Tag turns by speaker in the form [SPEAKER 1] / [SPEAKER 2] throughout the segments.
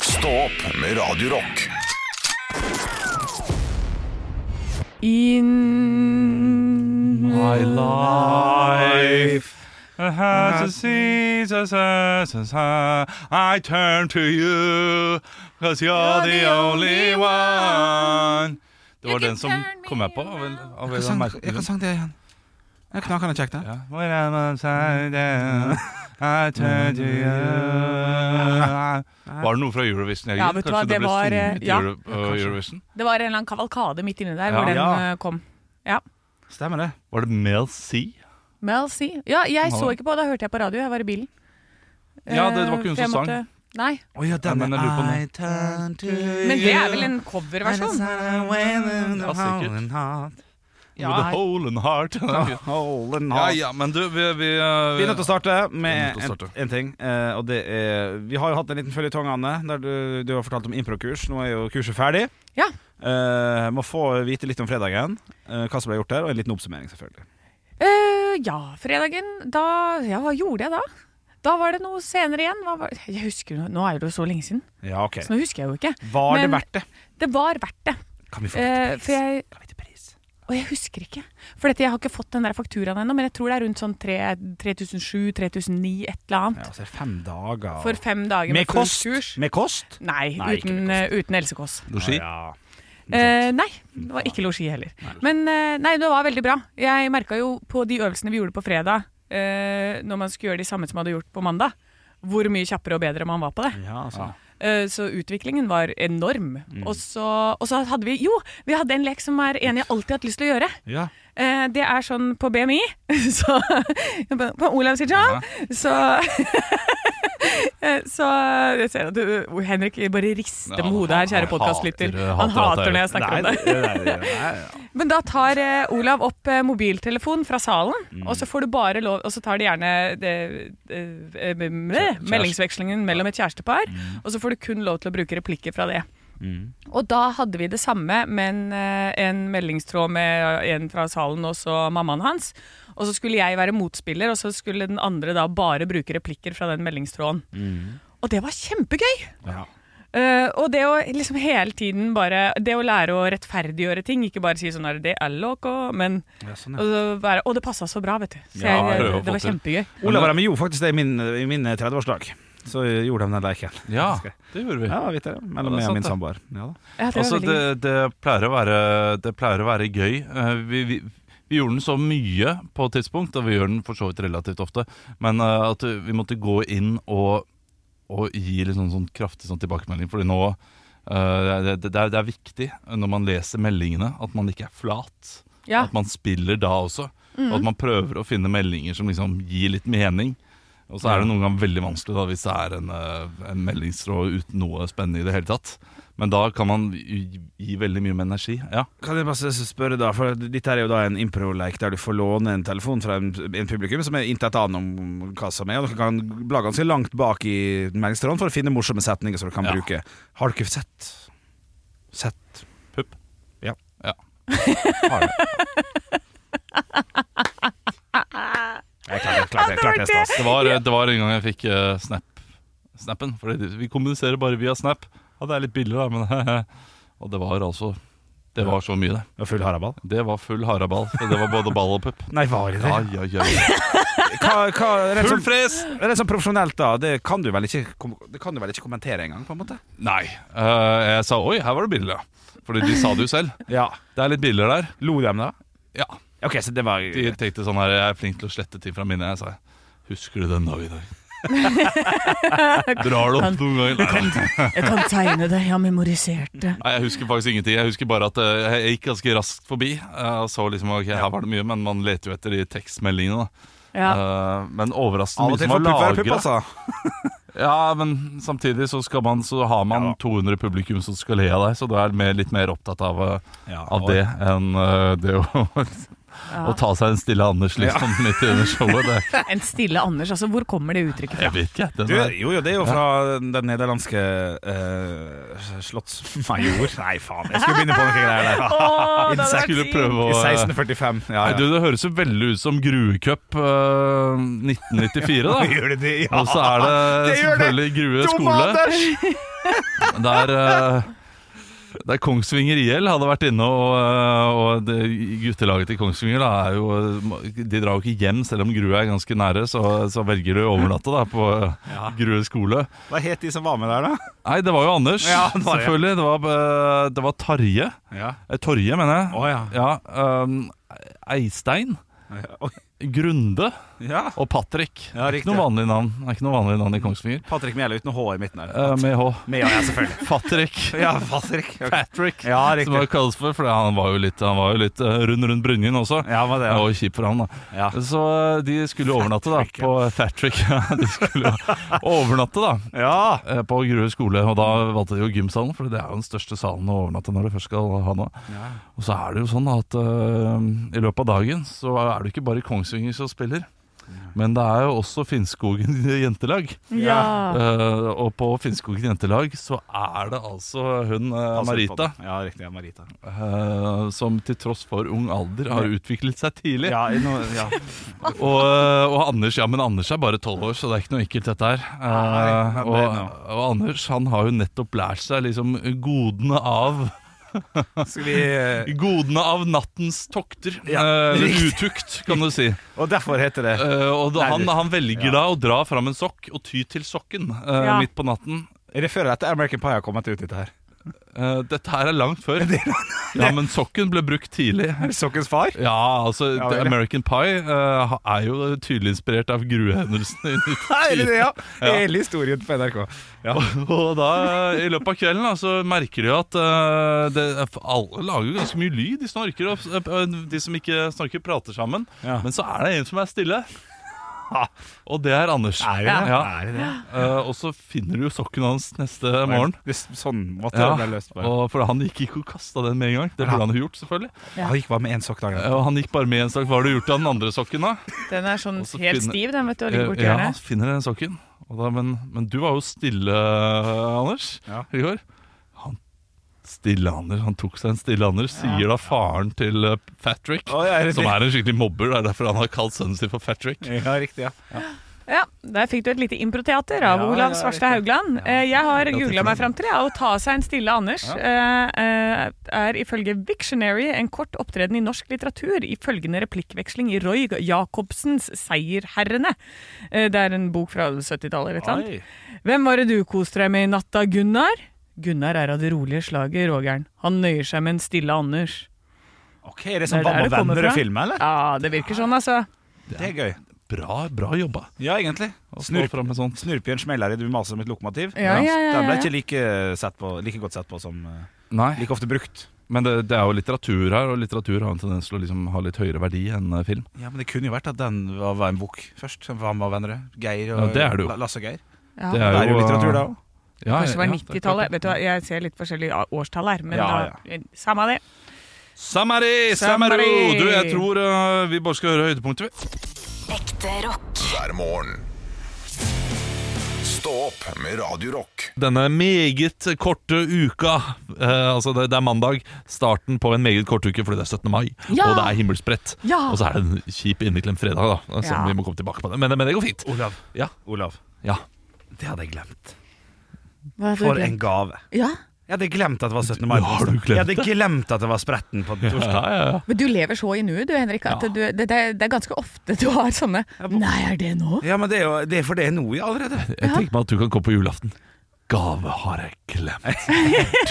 [SPEAKER 1] Stå opp med Radio Rock.
[SPEAKER 2] In
[SPEAKER 3] My life has a
[SPEAKER 2] Has-
[SPEAKER 3] season, I turn to you, cause you're the only one. Det var den som kom jeg på. Av, en- av en
[SPEAKER 2] Hva sang,
[SPEAKER 3] merkelig grunn.
[SPEAKER 2] hva sang det igjen? Jeg knaker den og sjekker den.
[SPEAKER 3] Ja. When I'm upside down, I turn to you. Var det noe fra Eurovision? Jørgen?
[SPEAKER 4] Ja, vet du hva,
[SPEAKER 3] Kanskje
[SPEAKER 4] det
[SPEAKER 3] ble
[SPEAKER 4] var, eh,
[SPEAKER 3] sunget i
[SPEAKER 4] ja.
[SPEAKER 3] Euro- øh, Eurovision?
[SPEAKER 4] Det var en eller annen kavalkade midt inni der
[SPEAKER 3] Ja.
[SPEAKER 4] hvor den
[SPEAKER 2] Ja.
[SPEAKER 4] eh, kom. Ja.
[SPEAKER 2] Stemmer det.
[SPEAKER 3] Var det Mel C?
[SPEAKER 4] Mel C. Ja, jeg
[SPEAKER 3] Ja.
[SPEAKER 4] så ikke på, da hørte jeg på radio. Jeg var i bilen.
[SPEAKER 3] Ja, det var ikke hun
[SPEAKER 4] Eh, for jeg
[SPEAKER 3] som sang.
[SPEAKER 4] Nei,
[SPEAKER 2] Å ja,
[SPEAKER 3] Ja,
[SPEAKER 2] denne.
[SPEAKER 3] men jeg lurer på den.
[SPEAKER 2] I turn to
[SPEAKER 4] men det er
[SPEAKER 2] you.
[SPEAKER 4] vel en coverversjon.
[SPEAKER 3] Ja, sikkert.
[SPEAKER 2] Ja,
[SPEAKER 3] With a hole in heart.
[SPEAKER 2] Hold and
[SPEAKER 3] ja,
[SPEAKER 2] hard.
[SPEAKER 3] ja, men du, vi, vi, eh,
[SPEAKER 2] Vi er nødt til å starte med
[SPEAKER 3] Vi er nødt til å
[SPEAKER 2] en, en ting. eh, og det er, vi har jo hatt en liten føljetong, Anne, der du, du har fortalt om improkurs. Nå er jo kurset ferdig.
[SPEAKER 4] Ja.
[SPEAKER 2] Eh, må få vite litt om fredagen, eh, hva som ble gjort der, og en liten oppsummering, selvfølgelig.
[SPEAKER 4] Eh, ja, fredagen da, ja, Hva gjorde jeg da? Da var det noe senere igjen. Hva var, jeg husker, jo- Nå er det jo så lenge siden,
[SPEAKER 2] Ja, ok
[SPEAKER 4] så nå husker jeg jo ikke.
[SPEAKER 2] Var det
[SPEAKER 4] Men-
[SPEAKER 2] verdt det?
[SPEAKER 4] Det var verdt det.
[SPEAKER 2] Kan vi få
[SPEAKER 4] Eh,
[SPEAKER 2] vite pris?
[SPEAKER 4] for jeg,
[SPEAKER 2] Kan vi vite pris?
[SPEAKER 4] og jeg husker ikke. For dette, jeg har ikke fått den der fakturaen ennå, men jeg tror det er rundt sånn 3007-3009, et eller annet.
[SPEAKER 2] Ja, så er det fem dager og-
[SPEAKER 4] For fem dager
[SPEAKER 2] med
[SPEAKER 4] full
[SPEAKER 2] kost?
[SPEAKER 4] kurs.
[SPEAKER 2] Med kost?
[SPEAKER 4] Nei,
[SPEAKER 2] Nei, ikke
[SPEAKER 4] uten,
[SPEAKER 2] med
[SPEAKER 4] eh, uten Else Kåss.
[SPEAKER 3] Losji?
[SPEAKER 2] Ja,
[SPEAKER 4] Eh, nei, det var ikke losji heller. Men eh, nei, det var veldig bra. Jeg merka jo på de øvelsene vi gjorde på fredag, eh, når man skulle gjøre de samme som man hadde gjort på mandag, hvor mye kjappere og bedre man var på det.
[SPEAKER 2] ja, altså.
[SPEAKER 4] Eh, så utviklingen var enorm.
[SPEAKER 2] Mm.
[SPEAKER 4] Og, så, og så hadde vi Jo, vi hadde en lek som er en jeg alltid har hatt lyst til å gjøre.
[SPEAKER 2] ja.
[SPEAKER 4] Eh, det er sånn på BMI, så På på Olav sitt jobb, så Eh, Så jeg ser at du, Henrik bare rister
[SPEAKER 3] Ja,
[SPEAKER 4] med
[SPEAKER 3] han
[SPEAKER 4] hodet her, kjære
[SPEAKER 3] hater-
[SPEAKER 4] podkastlytter.
[SPEAKER 3] hater
[SPEAKER 4] Han
[SPEAKER 3] at jeg-
[SPEAKER 4] hater når jeg snakker
[SPEAKER 2] Nei,
[SPEAKER 4] om det.
[SPEAKER 2] det- nei, det- nei,
[SPEAKER 4] Men da tar eh, Olav opp eh, mobiltelefon fra salen, og så får du bare lov Og så tar de gjerne det, eh, eh, meh, meldingsvekslingen mellom et kjærestepar, og så får du kun lov til å bruke replikker fra det. Og da hadde vi det samme, men eh, en meldingstråd med eh, en fra salen og så mammaen hans. Og så skulle jeg være motspiller, og så skulle den andre da bare bruke replikker fra den meldingstråden. Og det var kjempegøy!
[SPEAKER 2] ja.
[SPEAKER 4] Eh, og det å liksom hele tiden bare Det å lære å rettferdiggjøre ting, ikke bare si sånn her Det er loco, men
[SPEAKER 2] Ja, sånn,
[SPEAKER 4] og
[SPEAKER 2] ja.
[SPEAKER 4] så være, Å, det passa så bra, vet du. Så
[SPEAKER 2] Ja,
[SPEAKER 4] jeg,
[SPEAKER 3] det har
[SPEAKER 4] det, var
[SPEAKER 3] jeg fått til.
[SPEAKER 4] kjempegøy.
[SPEAKER 2] Olav og de gjorde faktisk det i min, i min 30-årsdag. Så gjorde de den leken.
[SPEAKER 3] Ja, det gjorde vi.
[SPEAKER 2] Ja, vet dere. Mellom
[SPEAKER 3] Ja, det er
[SPEAKER 2] meg og
[SPEAKER 3] sant,
[SPEAKER 2] min
[SPEAKER 3] det.
[SPEAKER 2] samboer. Ja, da.
[SPEAKER 4] Ja, det var
[SPEAKER 3] Altså,
[SPEAKER 4] veldig
[SPEAKER 3] det,
[SPEAKER 4] gøy.
[SPEAKER 3] det, pleier å være, det pleier å være gøy. Eh, Vi, vi, vi gjorde den så mye på et tidspunkt, og vi gjør den for så vidt relativt ofte, men eh, at vi måtte gå inn og, og gi litt sånn, sånn kraftig sånn tilbakemelding, fordi nå eh, det, det, er, det er viktig når man leser meldingene, at man ikke er flat.
[SPEAKER 4] ja.
[SPEAKER 3] At man spiller da også. Og at man prøver å finne meldinger som liksom gir litt mening. Og så er det noen ganger veldig vanskelig da, hvis det er en, eh, en meldingstråd uten noe spennende i det hele tatt. Men da kan man gi, gi veldig mye med energi. Ja.
[SPEAKER 2] Kan jeg bare s- spørre da, for Dette her er jo da en improlek der du får låne en telefon fra en, en publikum som er intet annet om hva som er, og dere kan bla ganske langt bak i meldingstråden for å finne morsomme setninger som dere kan
[SPEAKER 3] Ja.
[SPEAKER 2] bruke. Har dere sett? Sett?
[SPEAKER 3] Pupp.
[SPEAKER 2] Ja.
[SPEAKER 3] Ja.
[SPEAKER 2] Jeg klarte klart, det, klart, det, stas.
[SPEAKER 3] Det var, det var en gang jeg fikk eh, snap, snappen. For vi kommuniserer bare via snap. Ja, det er litt billigere, da, men Og det var altså Det var så mye, det.
[SPEAKER 2] Og full haraball?
[SPEAKER 3] Det var full haraball. for Det var både ball og pupp.
[SPEAKER 2] Nei, var det det?
[SPEAKER 3] Ja, ja, ja.
[SPEAKER 2] Hva, hva, rett,
[SPEAKER 3] Full
[SPEAKER 2] sånn,
[SPEAKER 3] fres!
[SPEAKER 2] rett sånn profesjonelt, da. Det kan du vel ikke, kom- det kan du vel ikke kommentere engang, på en måte?
[SPEAKER 3] Nei. eh, jeg sa 'oi, her var det billigere'. Fordi de sa det jo selv.
[SPEAKER 2] Ja.
[SPEAKER 3] Det er litt billigere der.
[SPEAKER 2] Lo de, da?
[SPEAKER 3] Ja.
[SPEAKER 2] Ok, så det var
[SPEAKER 3] De tenkte sånn her 'jeg er flink til å slette ting fra minnet'. Jeg sa 'husker du den dag i dag'? Drar det opp noen ganger? Nei, nei.
[SPEAKER 4] Jeg kan tegne det, jeg har memorisert det.
[SPEAKER 3] Nei, jeg husker faktisk ingenting. Jeg husker bare at eh, jeg gikk ganske raskt forbi. eh, Og så liksom, ok, her var det mye, men man leter jo etter de tekstmeldingene. da.
[SPEAKER 4] Ja.
[SPEAKER 3] Eh, men overraskende
[SPEAKER 2] Av
[SPEAKER 3] mye
[SPEAKER 2] og til
[SPEAKER 3] som var
[SPEAKER 2] får pupp være pupp,
[SPEAKER 3] lagra.
[SPEAKER 2] altså.
[SPEAKER 3] Ja, men samtidig så, skal man, så har man
[SPEAKER 2] Ja da.
[SPEAKER 3] 200 publikum som skal le av deg, så da er man litt mer opptatt av, eh, av det enn eh, det å, å ta seg en stille Anders liksom midt i det showet. Det,
[SPEAKER 4] En stille Anders, altså. Hvor kommer det uttrykket fra?
[SPEAKER 3] jeg vet ikke. Den
[SPEAKER 2] Du,
[SPEAKER 3] er,
[SPEAKER 2] jo, jo, det er jo fra den nederlandske uh, slottsmajor Nei, faen, jeg skulle begynne på noe greier der.
[SPEAKER 4] Åh, det hadde
[SPEAKER 3] jeg
[SPEAKER 4] vært
[SPEAKER 3] skulle
[SPEAKER 4] fint.
[SPEAKER 3] prøve
[SPEAKER 2] I
[SPEAKER 3] å eh,
[SPEAKER 2] 1645. Ja,
[SPEAKER 3] Nei,
[SPEAKER 2] ja.
[SPEAKER 3] du, Det høres jo veldig ut som Gruecup eh, 1994, da.
[SPEAKER 2] Gjør det det? Ja.
[SPEAKER 3] Og så er det
[SPEAKER 2] Det gjør det.
[SPEAKER 3] selvfølgelig Grue
[SPEAKER 2] Dum
[SPEAKER 3] skole.
[SPEAKER 2] Anders!
[SPEAKER 3] Der, eh, der Kongsvinger IL hadde vært inne, og, eh, og det, guttelaget til Kongsvinger da, er jo, eh, de drar jo ikke hjem, selv om Grue er ganske nære, så, så velger de å overnatte da, på
[SPEAKER 2] Ja.
[SPEAKER 3] Grue skole.
[SPEAKER 2] Hva het de som var med der, da?
[SPEAKER 3] Nei, det var jo Anders,
[SPEAKER 2] Ja, det var det.
[SPEAKER 3] selvfølgelig. Det var, eh, det var Tarje.
[SPEAKER 2] Ja.
[SPEAKER 3] Eh, Torje, mener jeg.
[SPEAKER 2] Å, ja.
[SPEAKER 3] eh, Eistein,
[SPEAKER 2] Oi.
[SPEAKER 3] Grunde
[SPEAKER 2] ja.
[SPEAKER 3] og Patrick. det
[SPEAKER 2] Ja,
[SPEAKER 3] er
[SPEAKER 2] riktig.
[SPEAKER 3] ikke noe vanlig navn, det er ikke noe vanlig navn i Kongsvinger.
[SPEAKER 2] Patrick Mjæle uten H i midten her.
[SPEAKER 3] Eh, med H.
[SPEAKER 2] Med ja, ja, selvfølgelig.
[SPEAKER 3] Patrick.
[SPEAKER 2] Ja, Patrick. Ok.
[SPEAKER 3] Patrick.
[SPEAKER 2] Ja,
[SPEAKER 3] Som det
[SPEAKER 2] riktig.
[SPEAKER 3] kalles for, for han var jo litt, han var jo litt eh, rund rundt brynjen også.
[SPEAKER 2] Ja, var det,
[SPEAKER 3] Det
[SPEAKER 2] ja.
[SPEAKER 3] var jo kjipt for han, da.
[SPEAKER 2] Ja.
[SPEAKER 3] Så eh, de skulle overnatte da
[SPEAKER 2] Patrick, ja.
[SPEAKER 3] på Fatrick. de skulle overnatte da
[SPEAKER 2] ja.
[SPEAKER 3] eh, på Grue skole, og da valgte de jo gymsalen, for det er jo den største salen å overnatte når du først skal ha noe. Og så er det jo sånn at eh, i løpet av dagen så er det ikke bare Kongsvinger som spiller, men det er jo også Finnskogen jentelag.
[SPEAKER 4] Ja.
[SPEAKER 3] Eh, og på Finnskogen jentelag så er det altså hun eh,
[SPEAKER 2] Pass litt på
[SPEAKER 3] Marita
[SPEAKER 2] den. Ja, riktig. Ja, Marita.
[SPEAKER 3] eh, som til tross for ung alder har utviklet seg tidlig.
[SPEAKER 2] Ja, i noe- ja.
[SPEAKER 3] Og, eh, og Anders ja, men Anders er bare tolv år, så det er ikke noe ekkelt, dette her. Eh,
[SPEAKER 2] Nei, men det-
[SPEAKER 3] og,
[SPEAKER 2] no.
[SPEAKER 3] og Anders han har jo nettopp lært seg liksom godene av
[SPEAKER 2] Skal vi eh,
[SPEAKER 3] Godene av nattens tokter.
[SPEAKER 2] Ja,
[SPEAKER 3] Eh, eller
[SPEAKER 2] riktig.
[SPEAKER 3] utukt, kan du si.
[SPEAKER 2] Og derfor heter det
[SPEAKER 3] Eh, og da,
[SPEAKER 2] Nei,
[SPEAKER 3] han,
[SPEAKER 2] det-
[SPEAKER 3] han velger da å dra fram en sokk og ty til sokken eh,
[SPEAKER 4] Ja.
[SPEAKER 3] midt på natten.
[SPEAKER 2] Er det før eller etter American Pie har kommet ut, dette her?
[SPEAKER 3] Eh, dette her er langt før. Ja, men sokken ble brukt tidlig.
[SPEAKER 2] Sokkens far?
[SPEAKER 3] Ja, altså
[SPEAKER 2] Ja,
[SPEAKER 3] The
[SPEAKER 2] vel.
[SPEAKER 3] American Pie eh, ha- er jo tydelig inspirert av gruehendelsene. i
[SPEAKER 2] Nei, er det det, ja?
[SPEAKER 3] Ja.
[SPEAKER 2] Hele historien på NRK. Ja.
[SPEAKER 3] 1910. Og da, eh, i løpet av kvelden, da, så merker de jo at eh, det, alle lager jo ganske mye lyd. De snorker, og eh, de som ikke snorker, prater sammen.
[SPEAKER 2] Ja.
[SPEAKER 3] Men så er det en som er stille. Og det er Anders.
[SPEAKER 2] Er det det?
[SPEAKER 3] Ja.
[SPEAKER 2] Er det, det?
[SPEAKER 3] Eh, og så finner du jo sokken hans neste morgen.
[SPEAKER 2] Det, er sånn måtte
[SPEAKER 3] Ja,
[SPEAKER 2] det bli løst på.
[SPEAKER 3] og for han gikk ikke og kasta den med en gang. Det
[SPEAKER 2] Ja.
[SPEAKER 3] burde han jo gjort, selvfølgelig.
[SPEAKER 2] Han gikk bare med én sokk dagen
[SPEAKER 3] Eh, Og han gikk bare med en sak. Hva har du gjort av den andre sokken, da?
[SPEAKER 4] Den er sånn
[SPEAKER 3] Og så
[SPEAKER 4] helt
[SPEAKER 3] finne-
[SPEAKER 4] stiv, den, vet du, og ligger borti
[SPEAKER 3] ja,
[SPEAKER 4] hjørnet.
[SPEAKER 3] finner den sokken. Og da, men, men du var jo stille, eh, Anders,
[SPEAKER 2] Ja.
[SPEAKER 3] i går. Han, stille Anders, han tok seg en stille Anders, sier da faren til eh, Patrick,
[SPEAKER 2] Å, ja, er det
[SPEAKER 3] som
[SPEAKER 2] det?
[SPEAKER 3] er en skikkelig mobber, det er derfor han har kalt sønnen sin for Patrick.
[SPEAKER 2] Ja, riktig, ja.
[SPEAKER 4] Ja, Der fikk du et lite improteater av
[SPEAKER 2] Ja,
[SPEAKER 4] Olav
[SPEAKER 2] ja,
[SPEAKER 4] Svarstad Haugland. Eh, Jeg har
[SPEAKER 3] det er
[SPEAKER 4] googla
[SPEAKER 3] fint.
[SPEAKER 4] meg fram til det. Å ta seg en stille Anders eh, eh, er ifølge Victionary en kort opptreden i norsk litteratur i følgende replikkveksling i Roy Jacobsens 'Seierherrene'. Eh, Det er en bok fra 70-tallet eller et eller annet. Hvem var det du koste deg med i natt da, Gunnar? Gunnar er av det rolige slaget, Rogern. Han nøyer seg med en stille Anders.
[SPEAKER 2] Ok, Er det
[SPEAKER 4] Det
[SPEAKER 2] sånn
[SPEAKER 4] er der
[SPEAKER 2] Bamma
[SPEAKER 4] det kommer
[SPEAKER 2] venner i
[SPEAKER 4] fra.
[SPEAKER 2] film, eller?
[SPEAKER 4] Ja, det virker sånn, altså.
[SPEAKER 2] Det er gøy.
[SPEAKER 3] Bra, bra jobba.
[SPEAKER 2] Ja, egentlig.
[SPEAKER 3] å få
[SPEAKER 2] Snurp,
[SPEAKER 3] fram en sånn.
[SPEAKER 2] snurpjørn smeller i du maser om et lokomotiv.
[SPEAKER 4] Ja, ja, ja,
[SPEAKER 2] Den ble
[SPEAKER 4] ja.
[SPEAKER 2] ikke like, eh, sett på, like godt sett på som eh,
[SPEAKER 3] Nei,
[SPEAKER 2] Like ofte brukt.
[SPEAKER 3] men det, det er jo litteratur her, og litteratur har en tendens til å liksom ha litt høyere verdi enn eh, film.
[SPEAKER 2] Ja, Men det kunne jo vært at den var, var en bok først. Som Bamma venner. Geir og
[SPEAKER 3] Ja, det er det jo.
[SPEAKER 2] La- Lasse og Geir.
[SPEAKER 4] Ja.
[SPEAKER 3] Det
[SPEAKER 2] Det er jo
[SPEAKER 3] eh,
[SPEAKER 2] litteratur, da òg.
[SPEAKER 3] Ja,
[SPEAKER 4] Kanskje det var
[SPEAKER 3] ja, er klart
[SPEAKER 4] 90-tallet. Vet du hva, Jeg ser litt forskjellig årstall her, men
[SPEAKER 2] Ja,
[SPEAKER 4] da, samme det.
[SPEAKER 3] Samari, Samaru!
[SPEAKER 4] Samari!
[SPEAKER 3] Du, jeg tror eh, vi bare skal høre høydepunktet. vi.
[SPEAKER 5] Ekte rock.
[SPEAKER 1] hver morgen. Stå opp med Radio Rock.
[SPEAKER 3] Denne meget korte uka, eh, altså det, det er mandag, starten på en meget kort uke fordi det er 17. mai,
[SPEAKER 4] Ja!
[SPEAKER 3] og det er himmelsbrett.
[SPEAKER 4] Ja!
[SPEAKER 3] Og så er det en kjip innviklet fredag, da, altså,
[SPEAKER 4] Ja.
[SPEAKER 3] vi må komme tilbake på det. Men, men det går fint.
[SPEAKER 2] Olav.
[SPEAKER 3] Ja.
[SPEAKER 2] Olav.
[SPEAKER 3] Ja.
[SPEAKER 2] Det hadde jeg glemt.
[SPEAKER 4] Hva er det du
[SPEAKER 2] For
[SPEAKER 4] glemte?
[SPEAKER 2] en gave.
[SPEAKER 4] Ja,
[SPEAKER 2] Jeg hadde glemt at det var 17. mai.
[SPEAKER 3] Har du glemt
[SPEAKER 2] jeg hadde glemt at det var spretten på torsdag.
[SPEAKER 3] Ja, ja, ja.
[SPEAKER 4] men du lever så i nuet du, Henrik, at
[SPEAKER 3] Ja.
[SPEAKER 4] du, det, det, er- det er ganske ofte du har sånne Nei, er det nå?
[SPEAKER 2] Ja, men det er jo det er for det er nå ja, allerede.
[SPEAKER 3] Jeg tenker meg at du kan komme på julaften. Gave har jeg glemt.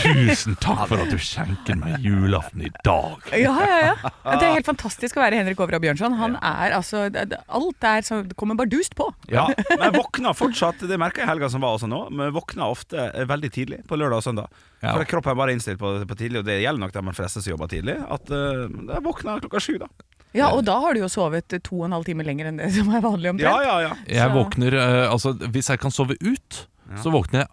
[SPEAKER 3] Tusen takk for at du skjenker meg julaften i dag.
[SPEAKER 4] Ja, ja, ja. Det er helt fantastisk å være Henrik Overhaug Bjørnson. Han er altså det- det- Alt er så det kommer bardust på.
[SPEAKER 2] Ja, Men jeg våkna fortsatt, det merka jeg i helga som var også nå, men jeg våkna ofte eh, veldig tidlig på lørdag og søndag.
[SPEAKER 3] Ja.
[SPEAKER 2] For kroppen er bare innstilt på, på tidlig, og det gjelder nok de fleste som jobber tidlig. At eh, jeg våkna klokka sju, da.
[SPEAKER 4] Ja, og da har du jo sovet to og en halv time lenger enn det som er vanlig
[SPEAKER 2] Ja,
[SPEAKER 4] omtrent.
[SPEAKER 2] ja, ja.
[SPEAKER 3] Jeg
[SPEAKER 4] Så-
[SPEAKER 3] våkner, eh, altså Hvis jeg kan sove ut, så våkner jeg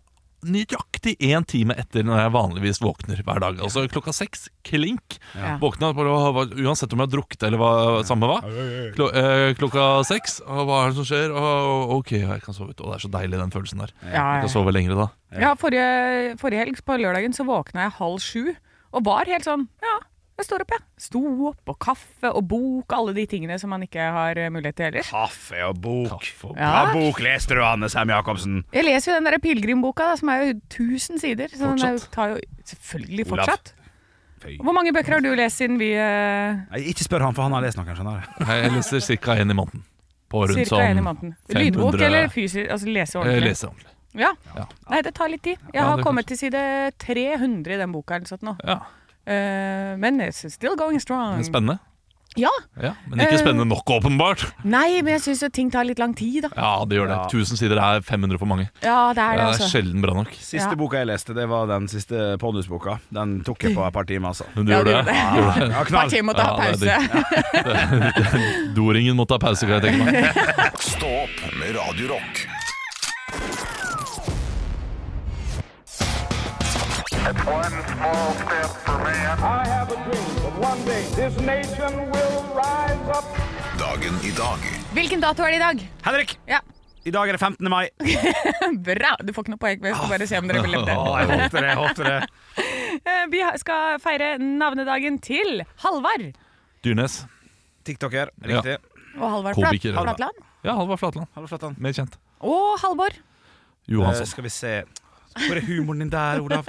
[SPEAKER 3] nøyaktig én time etter når jeg vanligvis våkner hver dag. Altså klokka seks, klink.
[SPEAKER 4] Ja.
[SPEAKER 3] Våkna på, uansett om jeg har drukket eller hva samme hva. Klo, eh, klokka seks, og hva er det som skjer? Og, ok, jeg kan sove ut. Og det er så deilig, den følelsen der. Jeg
[SPEAKER 4] Ja,
[SPEAKER 3] kan
[SPEAKER 4] ja.
[SPEAKER 3] sove lengre da.
[SPEAKER 4] ja forrige, forrige helg på lørdagen så våkna jeg halv sju og var helt sånn Ja, Jeg står opp, ja. Sto opp, og kaffe og bok, alle de tingene som man ikke har eh, mulighet til ellers.
[SPEAKER 2] Kaffe og bok.
[SPEAKER 4] Ja.
[SPEAKER 2] Hva bok leste du, Anne Sem Jacobsen?
[SPEAKER 4] Jeg leser jo den der pilegrimboka, da, som er jo 1000 sider. Så den er jo- tar jo selvfølgelig
[SPEAKER 2] Olav.
[SPEAKER 4] fortsatt.
[SPEAKER 2] Fy.
[SPEAKER 4] Hvor mange bøker har du lest siden vi eh,
[SPEAKER 2] Nei, ikke spør han, for han har lest noe, skjønner du.
[SPEAKER 3] Jeg leser ca. én i måneden. På rundt
[SPEAKER 4] Cirka
[SPEAKER 3] sånn
[SPEAKER 4] en i måneden. Lydbok
[SPEAKER 3] 500
[SPEAKER 4] eller fysisk? Altså lese
[SPEAKER 3] Eh,
[SPEAKER 4] ordentlig?
[SPEAKER 3] Lese ordentlig.
[SPEAKER 4] Ja.
[SPEAKER 3] Ja.
[SPEAKER 4] Nei, det tar litt tid. Jeg
[SPEAKER 3] Ja,
[SPEAKER 4] har
[SPEAKER 3] det
[SPEAKER 4] kommet til side 300 i den boka eller sånt nå.
[SPEAKER 3] Ja.
[SPEAKER 4] Eh, men it's still going strong.
[SPEAKER 3] Men Spennende.
[SPEAKER 4] Ja.
[SPEAKER 3] Ja, men ikke
[SPEAKER 4] Eh,
[SPEAKER 3] spennende nok, åpenbart.
[SPEAKER 4] Nei, men jeg syns ting tar litt lang tid, da.
[SPEAKER 3] Ja, det gjør det.
[SPEAKER 2] Ja.
[SPEAKER 3] 1000 sider er 500 for mange.
[SPEAKER 4] Ja, det er
[SPEAKER 3] Det
[SPEAKER 4] det,
[SPEAKER 3] er
[SPEAKER 4] altså.
[SPEAKER 3] sjelden bra nok.
[SPEAKER 2] Siste
[SPEAKER 4] Ja.
[SPEAKER 2] boka jeg leste, det var den siste Pondus-boka. Den tok jeg på et par timer, altså.
[SPEAKER 3] Men du
[SPEAKER 4] Ja,
[SPEAKER 3] gjør
[SPEAKER 4] du gjør
[SPEAKER 3] det.
[SPEAKER 4] det.
[SPEAKER 3] Du gjør det.
[SPEAKER 2] Ja, knall.
[SPEAKER 4] Partiet må ta
[SPEAKER 3] Ja, det
[SPEAKER 4] pause.
[SPEAKER 3] er Doringen må ta pause, kan jeg tenke meg.
[SPEAKER 1] Stå opp med Radio Rock.
[SPEAKER 6] One small step for man.
[SPEAKER 7] I have a dream that one day this nation will rise up.
[SPEAKER 1] Dagen i dag
[SPEAKER 4] Hvilken dato er det i dag?
[SPEAKER 2] Henrik!
[SPEAKER 4] Ja,
[SPEAKER 2] I dag er det 15. mai. Å,
[SPEAKER 4] Bra! Du får ikke noe poeng, men jeg skal
[SPEAKER 3] Ah.
[SPEAKER 4] bare se om dere vil lette.
[SPEAKER 2] jeg håpte det, jeg håpte det.
[SPEAKER 4] Eh, Vi har- skal feire navnedagen til Halvard.
[SPEAKER 3] Dyrnes.
[SPEAKER 2] TikToker, riktig.
[SPEAKER 4] Og Halvard
[SPEAKER 3] Komiker.
[SPEAKER 4] Flat- Flatland.
[SPEAKER 3] Ja, Halvard Flatland.
[SPEAKER 2] Hallo, Flatan.
[SPEAKER 3] Mer kjent.
[SPEAKER 4] Og Halvor.
[SPEAKER 2] Eh,
[SPEAKER 3] Johansson.
[SPEAKER 2] skal vi se Hvor er humoren din der, Olav?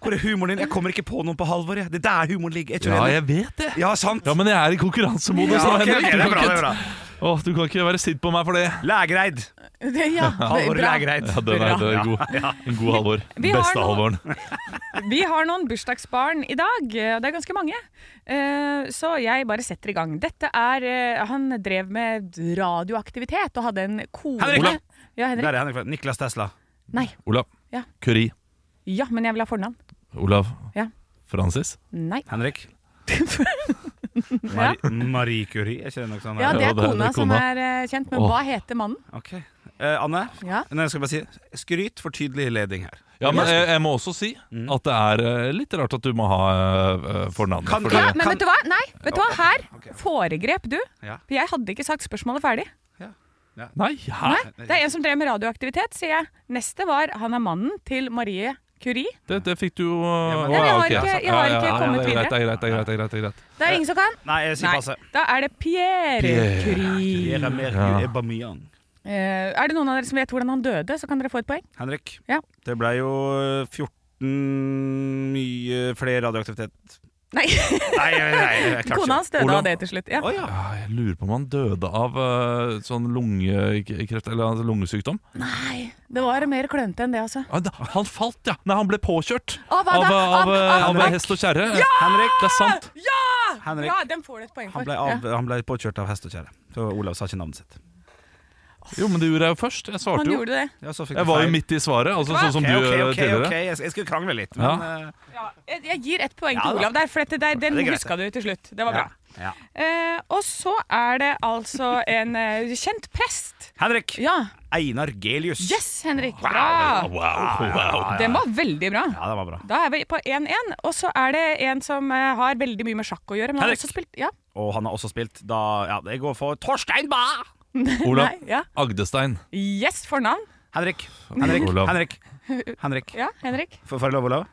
[SPEAKER 2] Hvor er humoren din? Jeg kommer ikke på noen på Halvor. jeg. Det er der humoren ligger. Jeg
[SPEAKER 3] Ja,
[SPEAKER 2] tror jeg-
[SPEAKER 3] jeg vet det.
[SPEAKER 2] ja, sant?
[SPEAKER 3] Ja, men jeg er i konkurransemodus.
[SPEAKER 2] Ja,
[SPEAKER 3] nå,
[SPEAKER 2] ok, ok,
[SPEAKER 3] Henrik.
[SPEAKER 2] det er bra,
[SPEAKER 3] Du kan
[SPEAKER 2] det er bra.
[SPEAKER 3] ikke- Åh, du kan ikke være sint på meg for det.
[SPEAKER 2] Lægreid.
[SPEAKER 4] Det, ja, det
[SPEAKER 2] Halvor
[SPEAKER 4] er bra.
[SPEAKER 2] Lægreid.
[SPEAKER 3] Ja, den er,
[SPEAKER 4] Bra.
[SPEAKER 3] den er god. En god Halvor.
[SPEAKER 4] Vi har
[SPEAKER 3] Beste
[SPEAKER 4] noe-
[SPEAKER 3] Halvoren.
[SPEAKER 4] Vi har noen bursdagsbarn i dag, og det er ganske mange. Eh, Så jeg bare setter i gang. Dette er eh, Han drev med radioaktivitet og hadde en kone
[SPEAKER 2] Henrik! Olav.
[SPEAKER 4] Ja,
[SPEAKER 2] Der
[SPEAKER 4] Henrik.
[SPEAKER 2] er Henrik. Flat- Niklas Tesla.
[SPEAKER 4] Nei.
[SPEAKER 3] Olav.
[SPEAKER 4] Ja.
[SPEAKER 3] Curie.
[SPEAKER 4] Ja, men jeg vil ha fornavn.
[SPEAKER 3] Olav.
[SPEAKER 4] Ja.
[SPEAKER 3] Francis.
[SPEAKER 4] Nei.
[SPEAKER 2] Henrik.
[SPEAKER 4] Ja.
[SPEAKER 2] Mari- Marie Curie, er ikke det noe sånt?
[SPEAKER 4] Ja,
[SPEAKER 2] der?
[SPEAKER 4] det
[SPEAKER 3] Ja,
[SPEAKER 4] er
[SPEAKER 3] det er-
[SPEAKER 4] kona
[SPEAKER 3] det er
[SPEAKER 4] som
[SPEAKER 3] kona.
[SPEAKER 4] er eh, kjent, men
[SPEAKER 3] Åh.
[SPEAKER 4] hva heter mannen?
[SPEAKER 2] Ok. Eh, Anne,
[SPEAKER 4] Ja.
[SPEAKER 2] Nei, jeg skal bare si skryt for tydelig leding her.
[SPEAKER 3] Ja, men eh, jeg, jeg må også si
[SPEAKER 2] Mm.
[SPEAKER 3] at det er eh, litt rart at du må ha eh, eh, fornavnet.
[SPEAKER 2] Kan-
[SPEAKER 3] fordi-
[SPEAKER 4] Ja,
[SPEAKER 2] kan-
[SPEAKER 4] men vet du hva? Nei, vet du hva? Her foregrep du.
[SPEAKER 2] Ja.
[SPEAKER 4] For jeg hadde ikke sagt spørsmålet ferdig.
[SPEAKER 3] Nei, hæ?
[SPEAKER 4] Nei,
[SPEAKER 2] Ah,
[SPEAKER 4] Det er en som drev med radioaktivitet, sier jeg. Neste var han er mannen til Marie Curie.
[SPEAKER 3] Det, det fikk du jo
[SPEAKER 2] Ja, men-
[SPEAKER 3] Å,
[SPEAKER 2] Jeg
[SPEAKER 3] ja,
[SPEAKER 4] har
[SPEAKER 3] ok.
[SPEAKER 4] ikke- jeg har ikke kommet
[SPEAKER 3] det er greit, Det er greit, det er greit, det er greit, det er greit.
[SPEAKER 4] Det er ingen som kan.
[SPEAKER 2] Nei, jeg sier Eh, passe.
[SPEAKER 4] Da er det Pierre,
[SPEAKER 3] Pierre
[SPEAKER 4] Curie.
[SPEAKER 2] Pierre Mercure Aubameyang.
[SPEAKER 4] Eh, er det noen av dere som vet hvordan han døde, så kan dere få et poeng.
[SPEAKER 2] Henrik,
[SPEAKER 4] Ja.
[SPEAKER 2] det ble jo 14 mye flere radioaktivitet.
[SPEAKER 4] Nei,
[SPEAKER 2] Nei, nei, nei, jeg klarer
[SPEAKER 4] kona
[SPEAKER 2] ikke.
[SPEAKER 4] hans døde
[SPEAKER 3] Olav.
[SPEAKER 4] av det til slutt. Ja.
[SPEAKER 2] Å ja.
[SPEAKER 3] Ja, jeg lurer på om han døde av eh, sånn lungekreft eller altså lungesykdom.
[SPEAKER 4] Nei, det var mer klønete enn det, altså.
[SPEAKER 3] Ah, da- Han falt, ja! Nei, han ble påkjørt
[SPEAKER 4] Av- av-
[SPEAKER 3] av, eh,
[SPEAKER 4] av-
[SPEAKER 3] av, av,
[SPEAKER 2] av-
[SPEAKER 3] hest og kjerre.
[SPEAKER 2] Henrik,
[SPEAKER 3] Det er sant.
[SPEAKER 2] Henrik.
[SPEAKER 4] Ja, den får du et poeng for.
[SPEAKER 2] Han ble,
[SPEAKER 4] Ja.
[SPEAKER 2] av, han ble påkjørt av hest og kjerre. Så Olav sa ikke navnet sitt.
[SPEAKER 3] Jo, men det gjorde jeg jo først. Jeg
[SPEAKER 4] Han
[SPEAKER 3] svarte jo.
[SPEAKER 4] gjorde det.
[SPEAKER 2] Ja, så fikk
[SPEAKER 3] Jeg
[SPEAKER 2] du
[SPEAKER 3] var jo
[SPEAKER 2] feil.
[SPEAKER 3] midt i svaret, altså sånn som
[SPEAKER 2] Ok,
[SPEAKER 3] du
[SPEAKER 2] ok,
[SPEAKER 3] gjør
[SPEAKER 2] ok,
[SPEAKER 3] tidligere.
[SPEAKER 2] ok, Jeg, skal- jeg skulle krangle litt, men
[SPEAKER 3] Ja.
[SPEAKER 2] eh,
[SPEAKER 4] Jeg, jeg gir ett poeng
[SPEAKER 2] Ja,
[SPEAKER 4] til
[SPEAKER 2] da.
[SPEAKER 4] Olav der, for dette der, den
[SPEAKER 2] Det er greit,
[SPEAKER 4] huska du til slutt. Det var
[SPEAKER 2] ja.
[SPEAKER 4] bra. Eh, og så er det altså en eh, kjent prest.
[SPEAKER 2] Henrik.
[SPEAKER 4] Ja.
[SPEAKER 2] Einar Gelius.
[SPEAKER 4] Yes, Henrik. Bra!
[SPEAKER 2] Ah,
[SPEAKER 4] Den var veldig bra.
[SPEAKER 2] Ja, det var bra.
[SPEAKER 4] Da er vi på 1-1. Og så er det en som eh, har veldig mye med sjakk å gjøre. Men han har
[SPEAKER 2] Henrik.
[SPEAKER 4] også spilt Ja.
[SPEAKER 2] Og han har også spilt da Ja, jeg går for Torstein Bae!
[SPEAKER 3] Olav
[SPEAKER 4] Nei, ja.
[SPEAKER 3] Agdestein.
[SPEAKER 4] Yes, fornavn.
[SPEAKER 2] Henrik. Henrik.
[SPEAKER 3] Olav.
[SPEAKER 2] Henrik. Henrik.
[SPEAKER 4] Ja, Henrik.
[SPEAKER 2] Får får jeg lov, Olav?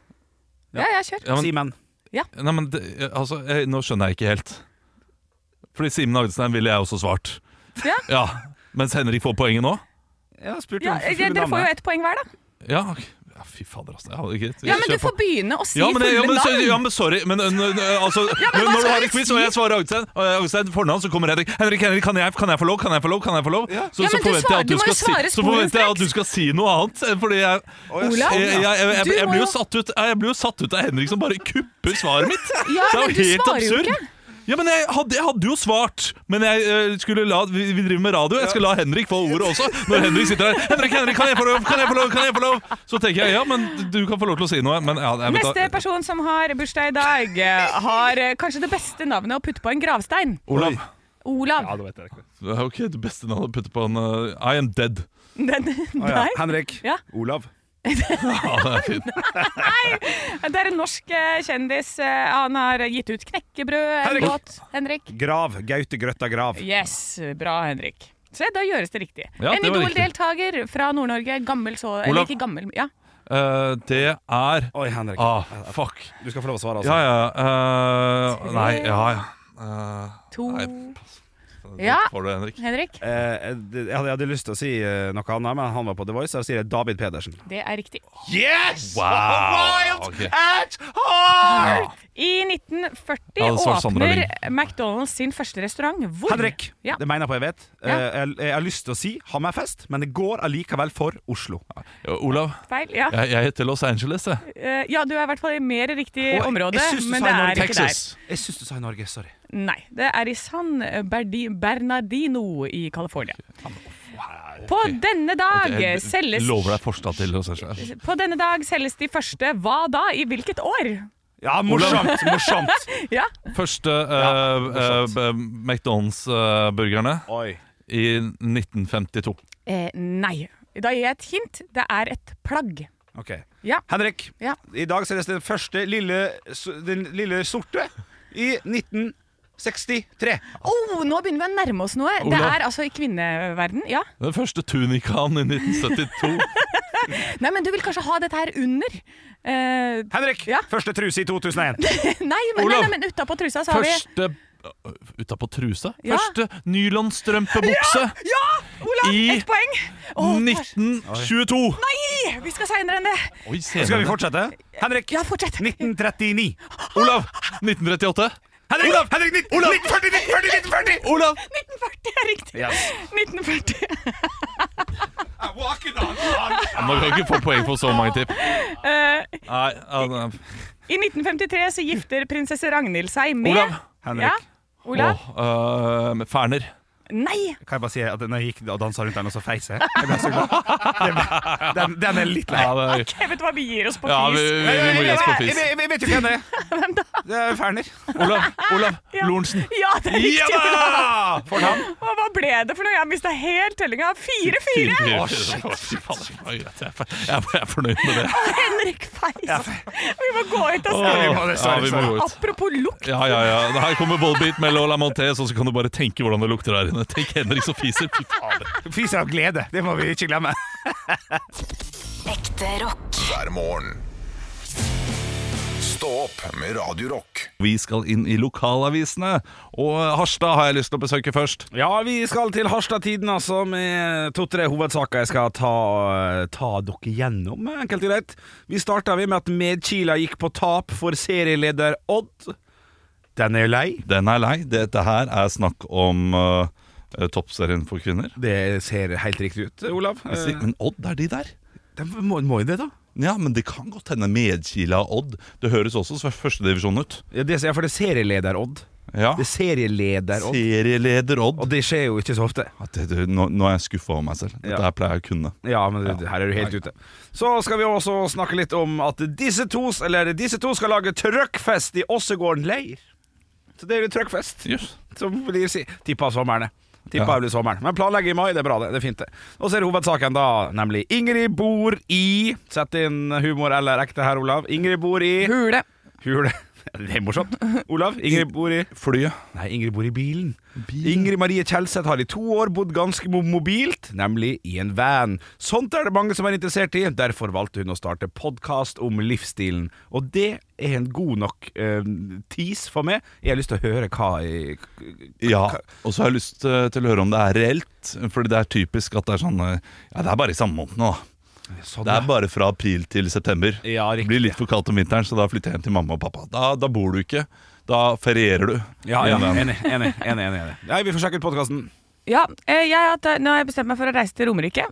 [SPEAKER 4] Ja, ja, kjør.
[SPEAKER 3] Ja, men-
[SPEAKER 2] Simen.
[SPEAKER 3] Nei, men det, altså, jeg, nå skjønner jeg ikke helt. Fordi Simen Agdestein ville jeg også svart.
[SPEAKER 4] Ja.
[SPEAKER 3] Mens Henrik får poenget nå?
[SPEAKER 2] Jeg har spurt
[SPEAKER 4] Ja, eh,
[SPEAKER 2] om fulle
[SPEAKER 4] dere får jo
[SPEAKER 2] navnet.
[SPEAKER 4] ett poeng hver, da.
[SPEAKER 3] Ja, ok. ja fy fader, altså. Jeg hadde ikke
[SPEAKER 4] Ja, Men du
[SPEAKER 3] kjør på.
[SPEAKER 4] får begynne å si
[SPEAKER 3] ja, men, det- ja,
[SPEAKER 4] fulle
[SPEAKER 3] men, så- ja,
[SPEAKER 4] navn.
[SPEAKER 3] men sorry, men ø, ø, ø, altså
[SPEAKER 4] men hva
[SPEAKER 3] Når du
[SPEAKER 4] skal
[SPEAKER 3] har
[SPEAKER 4] du
[SPEAKER 3] en quiz
[SPEAKER 4] si?
[SPEAKER 3] og jeg svarer Agdestein, og jeg- Agdestein får navn, så kommer Henrik. Henrik, Henrik, kan jeg, kan jeg få lov? Kan jeg få lov? Kan jeg få lov? Så,
[SPEAKER 4] Ja,
[SPEAKER 3] så
[SPEAKER 4] men du
[SPEAKER 3] forventer jeg
[SPEAKER 4] svarer-
[SPEAKER 3] at
[SPEAKER 4] du må
[SPEAKER 3] du
[SPEAKER 4] jo
[SPEAKER 3] skal si,
[SPEAKER 4] svare
[SPEAKER 3] så forventer jeg
[SPEAKER 4] sporenstreks.
[SPEAKER 3] at du skal si noe annet. eh, Fordi jeg Eh,
[SPEAKER 4] Olav?
[SPEAKER 3] jeg, jeg, jeg, jeg,
[SPEAKER 4] Du
[SPEAKER 3] jeg
[SPEAKER 4] må
[SPEAKER 3] blir
[SPEAKER 4] jo-
[SPEAKER 3] jo satt ut eh, Jeg blir jo satt ut av Henrik som bare kupper svaret mitt.
[SPEAKER 4] Ja,
[SPEAKER 3] det er
[SPEAKER 4] men
[SPEAKER 3] jo
[SPEAKER 4] du
[SPEAKER 3] helt
[SPEAKER 4] svarer jo
[SPEAKER 3] absurd.
[SPEAKER 4] ikke.
[SPEAKER 3] Ja, men jeg hadde, jeg hadde jo svart, men jeg eh, skulle la, vi, vi driver med radio. Jeg skal la Henrik få ordet også. Når Henrik sitter her Henrik, Henrik, kan jeg få lov? Kan jeg få lov? Kan jeg få lov? Så tenker jeg ja, men du kan få lov til å si noe. Men ja, jeg vet da-
[SPEAKER 4] Neste person som har bursdag i dag, eh, har eh, kanskje det beste navnet å putte på en gravstein.
[SPEAKER 3] Olav.
[SPEAKER 4] Olav.
[SPEAKER 3] Det er jo ikke det beste navnet å putte på en eh, I am dead.
[SPEAKER 4] Den,
[SPEAKER 2] Å, ja.
[SPEAKER 4] nei,
[SPEAKER 2] Henrik.
[SPEAKER 4] Ja.
[SPEAKER 2] Olav.
[SPEAKER 3] Ja, det er fint.
[SPEAKER 4] det er en norsk eh, kjendis. eh, Han har gitt ut knekkebrød. en
[SPEAKER 2] Henrik.
[SPEAKER 4] låt. Henrik.
[SPEAKER 2] Grav. Gaute Grøtta Grav.
[SPEAKER 4] Yes, bra Henrik. Se, da gjøres det riktig.
[SPEAKER 3] Ja,
[SPEAKER 4] en
[SPEAKER 3] det var riktig.
[SPEAKER 4] Idol-deltaker fra Nord-Norge. Gammel så... Eller
[SPEAKER 3] Olav.
[SPEAKER 4] ikke gammel, ja.
[SPEAKER 3] Eh, det er
[SPEAKER 2] Oi, Henrik.
[SPEAKER 3] Ah, fuck.
[SPEAKER 2] Du skal få lov å svare, altså.
[SPEAKER 3] Ja, ja. eh, nei, ja, ja. Eh,
[SPEAKER 4] To
[SPEAKER 3] Nei,
[SPEAKER 8] Ja,
[SPEAKER 4] Ah.
[SPEAKER 3] Får du, Henrik?
[SPEAKER 8] Henrik.
[SPEAKER 2] Eh, det- jeg, hadde, jeg hadde lyst til å si eh, noe annet, men han var på The Voice. Da sier jeg David Pedersen.
[SPEAKER 4] Det er riktig.
[SPEAKER 2] Yes!
[SPEAKER 3] Wow! ok.
[SPEAKER 4] I 1940
[SPEAKER 3] Ja, det svarte Sandra
[SPEAKER 4] åpner McDonald's sin første restaurant. Hvor?
[SPEAKER 2] Henrik!
[SPEAKER 4] Ja.
[SPEAKER 2] Det mener jeg på jeg vet.
[SPEAKER 4] Ja.
[SPEAKER 2] Eh, jeg, jeg har lyst til å si Hammerfest, men det går allikevel for Oslo.
[SPEAKER 3] Ja, Olav,
[SPEAKER 4] Feil. Ja.
[SPEAKER 3] jeg, jeg heter Los Angeles, jeg.
[SPEAKER 4] Eh, ja, du er i hvert fall i mer riktig
[SPEAKER 2] Å, jeg-
[SPEAKER 4] område,
[SPEAKER 2] jeg synes du
[SPEAKER 4] men
[SPEAKER 2] sa
[SPEAKER 4] det
[SPEAKER 2] Norge.
[SPEAKER 4] er ikke
[SPEAKER 3] Texas.
[SPEAKER 2] Jeg syns du sa i Norge.
[SPEAKER 4] der.
[SPEAKER 2] Sorry.
[SPEAKER 4] Nei, det er i San Berdi- Bernardino i California. På denne dag
[SPEAKER 3] Jeg
[SPEAKER 4] selges
[SPEAKER 3] Lover deg forstad til Los Angeles.
[SPEAKER 4] På denne dag selges de første hva da? I hvilket år?
[SPEAKER 2] Ja, morsomt! morsomt.
[SPEAKER 4] Ja,
[SPEAKER 3] Første eh,
[SPEAKER 2] Ja, morsomt.
[SPEAKER 3] McDonald's-burgerne
[SPEAKER 2] Oi.
[SPEAKER 3] eh, i 1952.
[SPEAKER 4] eh, Nei. Da gir jeg et hint. Det er et plagg.
[SPEAKER 2] Ok.
[SPEAKER 4] Ja.
[SPEAKER 2] Henrik,
[SPEAKER 4] Ja.
[SPEAKER 2] i dag selges den første lille, s- den lille sorte i 1963.
[SPEAKER 4] Oh, nå begynner vi å nærme oss noe. Det
[SPEAKER 3] Olav.
[SPEAKER 4] er altså i kvinneverden. Ja.
[SPEAKER 3] Den første tunikaen i 1972.
[SPEAKER 4] Nei, men du vil kanskje ha dette her under? Eh,
[SPEAKER 2] Henrik,
[SPEAKER 4] Ja.
[SPEAKER 2] første truse i 2001.
[SPEAKER 4] nei, men, nei,
[SPEAKER 3] Olav.
[SPEAKER 4] nei, men utapå trusa så har vi
[SPEAKER 3] Første øh, Utapå trusa?
[SPEAKER 4] Ja.
[SPEAKER 3] Første nylonstrømpebukse
[SPEAKER 4] Ja! Olav,
[SPEAKER 3] I-
[SPEAKER 4] ett poeng! Åh,
[SPEAKER 3] 1922!
[SPEAKER 4] nei, vi skal seinere enn det.
[SPEAKER 3] Oi,
[SPEAKER 2] Skal vi
[SPEAKER 3] senere.
[SPEAKER 2] fortsette? Henrik,
[SPEAKER 4] Ja, fortsett.
[SPEAKER 2] 1939.
[SPEAKER 3] Olav! 1938.
[SPEAKER 2] Henrik, Olav, Henrik, 19, 1940, 1940, 1940!
[SPEAKER 3] Olav!
[SPEAKER 4] 1940 er riktig.
[SPEAKER 2] Yes.
[SPEAKER 4] 1940.
[SPEAKER 3] Man kan ikke få poeng for så mange tipp.
[SPEAKER 4] Eh,
[SPEAKER 3] Nei, eh, ja, det-
[SPEAKER 4] I 1953 så gifter prinsesse Ragnhild seg med
[SPEAKER 3] Olav.
[SPEAKER 2] Henrik,
[SPEAKER 4] Ja, Olav?
[SPEAKER 3] Åh, øh, med Ferner.
[SPEAKER 4] Nei.
[SPEAKER 2] kan jeg bare si at når jeg gikk og dansa rundt den, og så feis jeg? Jeg ble så glad. Den- Den, den er litt lei. Eh,
[SPEAKER 3] Ja, det,
[SPEAKER 4] Jeg vet hva, vi gir oss på
[SPEAKER 3] ja vi,
[SPEAKER 4] fis.
[SPEAKER 3] vi, vi må gi oss på fis.
[SPEAKER 2] Jeg vet jo hvem det er. Det er Ferner.
[SPEAKER 3] Olav, Olav Lorentzen.
[SPEAKER 4] Ja, det er
[SPEAKER 3] Ja
[SPEAKER 4] riktig. Olav.
[SPEAKER 3] da!
[SPEAKER 4] Og hva ble det for noe? Jeg mista helt tellinga.
[SPEAKER 3] Fire,
[SPEAKER 4] 4-4.
[SPEAKER 3] fire. Å, shit. Fy faen, det var greit. Jeg er for- Jeg er for- jeg er fornøyd med det.
[SPEAKER 4] Henrik Feis. Vi må gå ut og
[SPEAKER 3] Åh,
[SPEAKER 4] se.
[SPEAKER 2] vi må det,
[SPEAKER 3] ja,
[SPEAKER 2] sorry,
[SPEAKER 3] vi må
[SPEAKER 2] sorry.
[SPEAKER 3] gå ut.
[SPEAKER 4] Apropos lukt.
[SPEAKER 3] Ja, ja, ja. Det Her kommer Volbeat med Lola Montez, og så kan du bare tenke hvordan det lukter der inne. Tenk Henrik som fiser. Fy faen.
[SPEAKER 2] Fiser av glede. Det må vi ikke glemme.
[SPEAKER 5] Ekte rock.
[SPEAKER 1] hver morgen. Stå opp med Radio Rock.
[SPEAKER 3] Vi skal inn i lokalavisene, og eh, Harstad har jeg lyst til å besøke først.
[SPEAKER 2] Ja, vi skal til Harstad-tiden, altså, med to-tre hovedsaker jeg skal ta, ta dere gjennom, enkelt og greit. Vi starta med at Medkila gikk på tap for serieleder Odd. Den er lei.
[SPEAKER 3] Den er lei. Dette her er snakk om øh, toppserien for kvinner.
[SPEAKER 2] Det ser helt riktig ut, Olav. Eh,
[SPEAKER 3] Jeg sier, Men Odd, er de der?
[SPEAKER 2] De må, må jo det, da.
[SPEAKER 3] Ja, men det kan godt hende Medkila og Odd. Det høres også som førstedivisjon ut.
[SPEAKER 2] Ja, det, ja, for det er serieleder Odd.
[SPEAKER 3] Ja.
[SPEAKER 2] Det er serieleder Odd.
[SPEAKER 3] Serieleder
[SPEAKER 2] Og
[SPEAKER 3] Odd.
[SPEAKER 2] det skjer jo ikke så ofte.
[SPEAKER 3] Ja, det, det, nå, nå er jeg skuffa over meg selv. Dette
[SPEAKER 2] Ja.
[SPEAKER 3] her pleier jeg å kunne.
[SPEAKER 2] Ja, men det- her er du helt ute. Så skal vi også snakke litt om at disse to, eller disse to skal lage trøkkfest i Åssegården leir. Så det er jo trøkkfest,
[SPEAKER 3] Jøss.
[SPEAKER 2] som blir si. Tippa sommeren, det. Tippa
[SPEAKER 3] Ja.
[SPEAKER 2] det blir sommeren. Men planlegger i mai, det er bra, det. Det er fint, det. Og så er det hovedsaken, da, nemlig Ingrid bor i Sett inn humor eller ekte her, Olav. Ingrid bor i
[SPEAKER 4] Hule.
[SPEAKER 2] Hule. Det er morsomt. Olav, Ingrid bor i
[SPEAKER 3] Flyet.
[SPEAKER 2] Nei, Ingrid bor i bilen. Ingrid Marie Kjelseth har i to år bodd ganske mo- mobilt, nemlig i en van. Sånt er det mange som er interessert i, derfor valgte hun å starte podkast om livsstilen. Og det er en god nok eh, tease for meg. Jeg har lyst til å høre hva jeg,
[SPEAKER 3] Ja, og så har jeg lyst eh, til å høre om det er reelt. Fordi det er typisk at det er sånn eh, Ja, det er bare i samme måned nå. da.
[SPEAKER 2] sånn,
[SPEAKER 3] Det er bare fra april til september.
[SPEAKER 2] Ja,
[SPEAKER 3] det
[SPEAKER 2] riktig.
[SPEAKER 3] blir litt for kaldt om vinteren, så da flytter jeg hjem til mamma og pappa. Da, da bor du ikke. Da ferierer du.
[SPEAKER 2] ja, ja,
[SPEAKER 3] I en van.
[SPEAKER 2] enig, enig, enig, enig, enig. Nei, vi får sjekke ut podkasten.
[SPEAKER 4] Ja, eh, jeg, har tatt- nå har jeg bestemt meg for å reise til Romerike.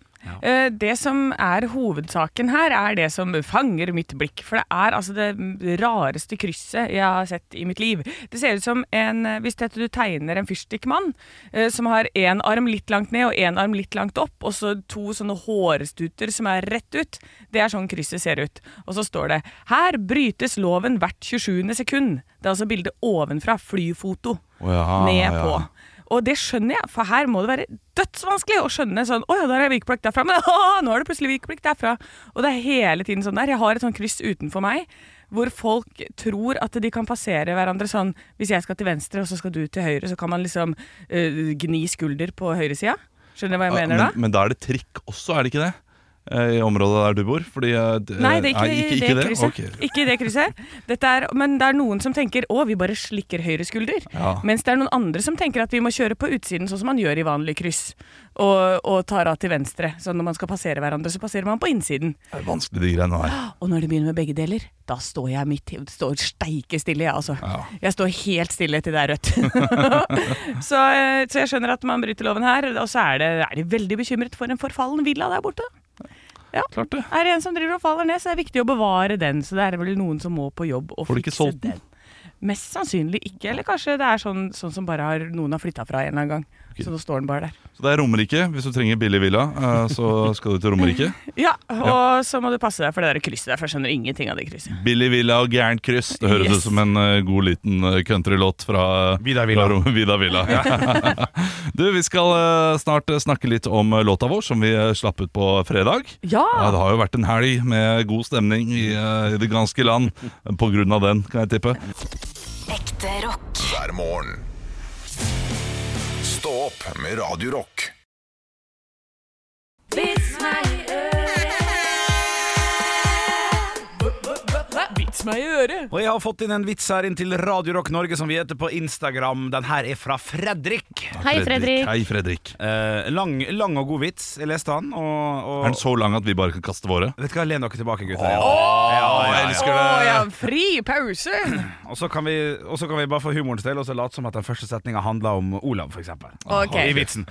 [SPEAKER 4] Eh, Det som er hovedsaken her, er det som fanger mitt blikk. For det er altså det rareste krysset jeg har sett i mitt liv. Det ser ut som en eh, Hvis dette du tegner en fyrstikkmann eh, som har én arm litt langt ned og én arm litt langt opp, og så to sånne hårstuter som er rett ut. Det er sånn krysset ser ut. Og så står det 'Her brytes loven hvert 27. sekund'. Det er altså bildet ovenfra. Flyfoto
[SPEAKER 3] Å, ja,
[SPEAKER 4] ned
[SPEAKER 3] ja.
[SPEAKER 4] på. Og det skjønner jeg, for her må det være dødsvanskelig å skjønne sånn Å ja, der er vikeplikt derfra, men å, nå er det plutselig vikeplikt derfra. Og det er hele tiden sånn der. Jeg har et sånt kryss utenfor meg hvor folk tror at de kan passere hverandre sånn Hvis jeg skal til venstre, og så skal du til høyre, så kan man liksom eh, gni skulder på høyresida. Skjønner du hva jeg mener da?
[SPEAKER 3] men, men da er det trikk også, er det ikke det? eh, i området der du bor? Fordi, eh, d-
[SPEAKER 4] Nei, det er ikke,
[SPEAKER 3] ikke,
[SPEAKER 4] det krysset.
[SPEAKER 3] Ok.
[SPEAKER 4] Ikke i det krysset. Dette er, men det er noen som tenker å, vi bare slikker høyre skulder.
[SPEAKER 3] Ja.
[SPEAKER 4] Mens det er noen andre som tenker at vi må kjøre på utsiden sånn som man gjør i vanlig kryss. Og, og tar av til venstre. Så når man skal passere hverandre, så passerer man på innsiden.
[SPEAKER 3] Det er vanskelig, de greiene her.
[SPEAKER 4] Og når det begynner med begge deler, da står jeg midt i- står steike stille, jeg altså. Jeg står helt stille til det er rødt. så, eh, så jeg skjønner at man bryter loven her. Og så er, det, er de veldig bekymret for en forfallen villa der borte. Ja.
[SPEAKER 3] Klart det.
[SPEAKER 4] Er det en som driver og faller ned, så er det viktig å bevare den. Så det er vel noen som må på jobb og
[SPEAKER 3] Får du ikke
[SPEAKER 4] fikse
[SPEAKER 3] solgt den?
[SPEAKER 4] Mest sannsynlig ikke. Eller kanskje det er sånn, sånn som bare har, noen har flytta fra en eller annen gang. Så nå står den bare der.
[SPEAKER 3] Så det er Romerike. Hvis du trenger billig villa, eh, så skal du til Romerike.
[SPEAKER 4] Ja, og så må du passe deg for det der krysset der, for jeg skjønner ingenting av det krysset.
[SPEAKER 3] Billig villa og gærent kryss. Det høres
[SPEAKER 4] Yes.
[SPEAKER 3] ut som en eh, god liten eh, countrylåt fra
[SPEAKER 2] Vidar Villa.
[SPEAKER 3] fra Rom- Vidar Villa. du, vi skal eh, snart eh, snakke litt om eh, låta vår, som vi eh, slapp ut på fredag.
[SPEAKER 4] Ja!
[SPEAKER 3] Ja, det har jo vært en helg med god stemning i, eh, i det ganske land. På grunn av den, kan jeg tippe.
[SPEAKER 5] Ekte rock.
[SPEAKER 1] hver morgen. Stå opp med Radio Rock.
[SPEAKER 4] Vits meg i øret!
[SPEAKER 2] Og jeg har fått inn en vits her inn til Radio Rock Norge, som vi heter på Instagram. Den her er fra Fredrik.
[SPEAKER 8] Hei, Fredrik.
[SPEAKER 3] Hei, Fredrik.
[SPEAKER 2] Eh, lang, lang og god vits. Jeg leste han, og, og
[SPEAKER 3] Er den så lang at vi bare kan kaste våre?
[SPEAKER 2] Vet du hva, len dere tilbake, gutter. Ja.
[SPEAKER 3] jeg
[SPEAKER 4] Å
[SPEAKER 3] elsker det.
[SPEAKER 4] ja, fri pause!
[SPEAKER 2] Og så kan, vi- og så kan vi bare for humorens del også late som at den første setninga handla om Olav, f.eks.
[SPEAKER 4] Ok.
[SPEAKER 2] I vitsen.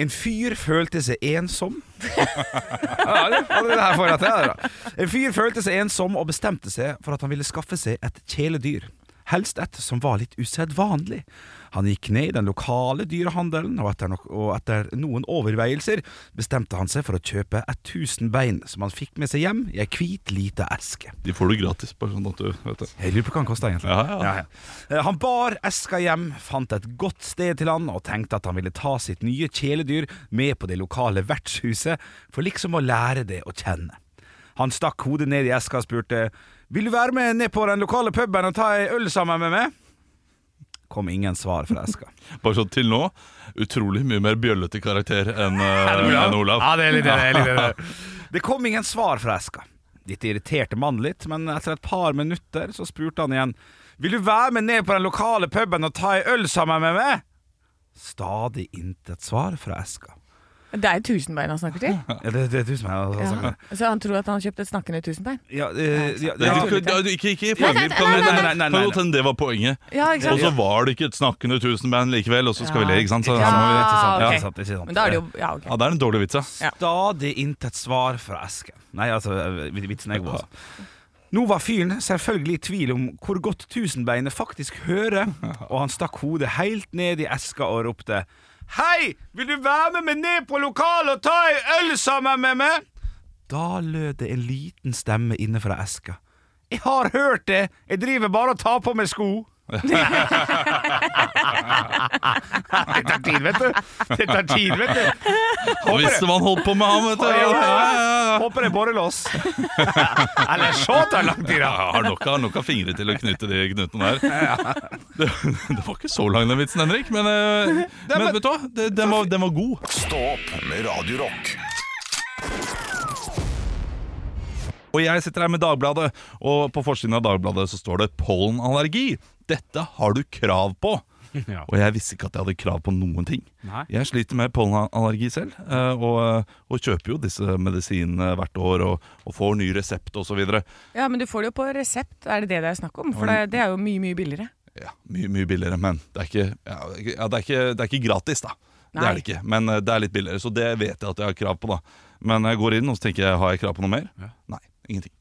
[SPEAKER 2] En fyr følte seg ensom ja, det, det her får jeg til, det da. En fyr følte seg ensom og bestemte seg for at han ville skaffe seg et kjæledyr. Helst et som var litt usedvanlig. Han gikk ned i den lokale dyrehandelen, og etter, nok, og etter noen overveielser bestemte han seg for å kjøpe et tusenbein som han fikk med seg hjem i ei hvit lita eske.
[SPEAKER 3] De får du gratis. bare sånn at du vet det.
[SPEAKER 2] Jeg lurer på hva han kosta, egentlig.
[SPEAKER 3] Ja, ja.
[SPEAKER 2] Eh, Han bar eska hjem, fant et godt sted til han og tenkte at han ville ta sitt nye kjæledyr med på det lokale vertshuset for liksom å lære det å kjenne. Han stakk hodet ned i eska og spurte Vil du være med ned på den lokale puben og ta ei øl sammen med meg? Kom ingen svar fra eska.
[SPEAKER 3] Bare sånn til nå. Utrolig mye mer bjøllete karakter enn eh, enn Olav.
[SPEAKER 2] Ja, det er litt det. er litt det. det kom ingen svar fra eska. Dette irriterte mannen litt, men etter et par minutter så spurte han igjen. Vil du være med ned på den lokale puben og ta ei øl sammen med meg? Stadig intet svar fra eska.
[SPEAKER 4] Det er tusenbein han snakker til.
[SPEAKER 2] Ja, det, det er du som er
[SPEAKER 4] Ja.
[SPEAKER 3] sånn,
[SPEAKER 2] ja.
[SPEAKER 4] Så han tror at han har kjøpt et snakkende tusenbein?
[SPEAKER 2] Ja, eh, ja,
[SPEAKER 3] Det,
[SPEAKER 2] ja.
[SPEAKER 3] du, du, du, ikke ikke
[SPEAKER 8] nei,
[SPEAKER 3] poenget.
[SPEAKER 8] nei,
[SPEAKER 3] Kan
[SPEAKER 8] nei,
[SPEAKER 3] kan-
[SPEAKER 2] nei, nei, nei,
[SPEAKER 3] kan
[SPEAKER 2] nei.
[SPEAKER 3] godt hende det var poenget.
[SPEAKER 4] Ja, ikke
[SPEAKER 3] Og så
[SPEAKER 4] sant?
[SPEAKER 3] var det ikke et snakkende tusenband likevel, og så skal vi le, ikke sant? Så,
[SPEAKER 4] Ja,
[SPEAKER 3] så må vi,
[SPEAKER 2] Ja,
[SPEAKER 4] ok.
[SPEAKER 2] ikke sant, ikke sant.
[SPEAKER 4] Men da er det jo Ja, ok.
[SPEAKER 3] ja, det er en dårlig vits, ja.
[SPEAKER 2] Stadig intet svar fra esken. Nei, altså, vitsen er god, altså. Nå var fyren selvfølgelig i tvil om hvor godt tusenbeinet faktisk hører, og han stakk hodet helt ned i eska og ropte Hei, vil du være med meg ned på lokalet og ta ei øl sammen med meg? Da lød det en liten stemme inne fra eska. Jeg har hørt det, jeg driver bare og tar på meg sko. det tar tid, vet du. Det tar tid, vet du.
[SPEAKER 3] Han visste hva han holdt på med, han, vet du.
[SPEAKER 2] Oi,
[SPEAKER 3] Ja,
[SPEAKER 2] oi, oi.
[SPEAKER 3] ja, ja, ja.
[SPEAKER 2] Håper det er borrelås. Eller så tar lang tid,
[SPEAKER 3] Ja, Har nok av nok av fingre til å knyte de knutene der. Det, det var ikke så lang den vitsen, Henrik, men, eh, men vet du hva? Det- Den var, den var god.
[SPEAKER 1] Stå opp med Radio Rock.
[SPEAKER 3] Og jeg sitter her med Dagbladet, og på forsiden av Dagbladet så står det 'pollenallergi'. Dette har du krav på.
[SPEAKER 2] Ja.
[SPEAKER 3] Og jeg visste ikke at jeg hadde krav på noen ting.
[SPEAKER 2] Nei.
[SPEAKER 3] Jeg sliter med pollenallergi selv, eh, og, og kjøper jo disse medisinene hvert år og, og får ny resept osv.
[SPEAKER 4] Ja, men du får det jo på resept, er det det det er snakk om? For det, det er jo mye, mye billigere.
[SPEAKER 3] Ja, mye, mye billigere, men det er ikke, ja, det er ikke- ja, det er ikke, det er ikke gratis, da. Det
[SPEAKER 4] Nei.
[SPEAKER 3] er det ikke, men eh, det er litt billigere, så det vet jeg at jeg har krav på. da Men jeg går inn og så tenker jeg, har jeg krav på noe mer? Nei, ingenting.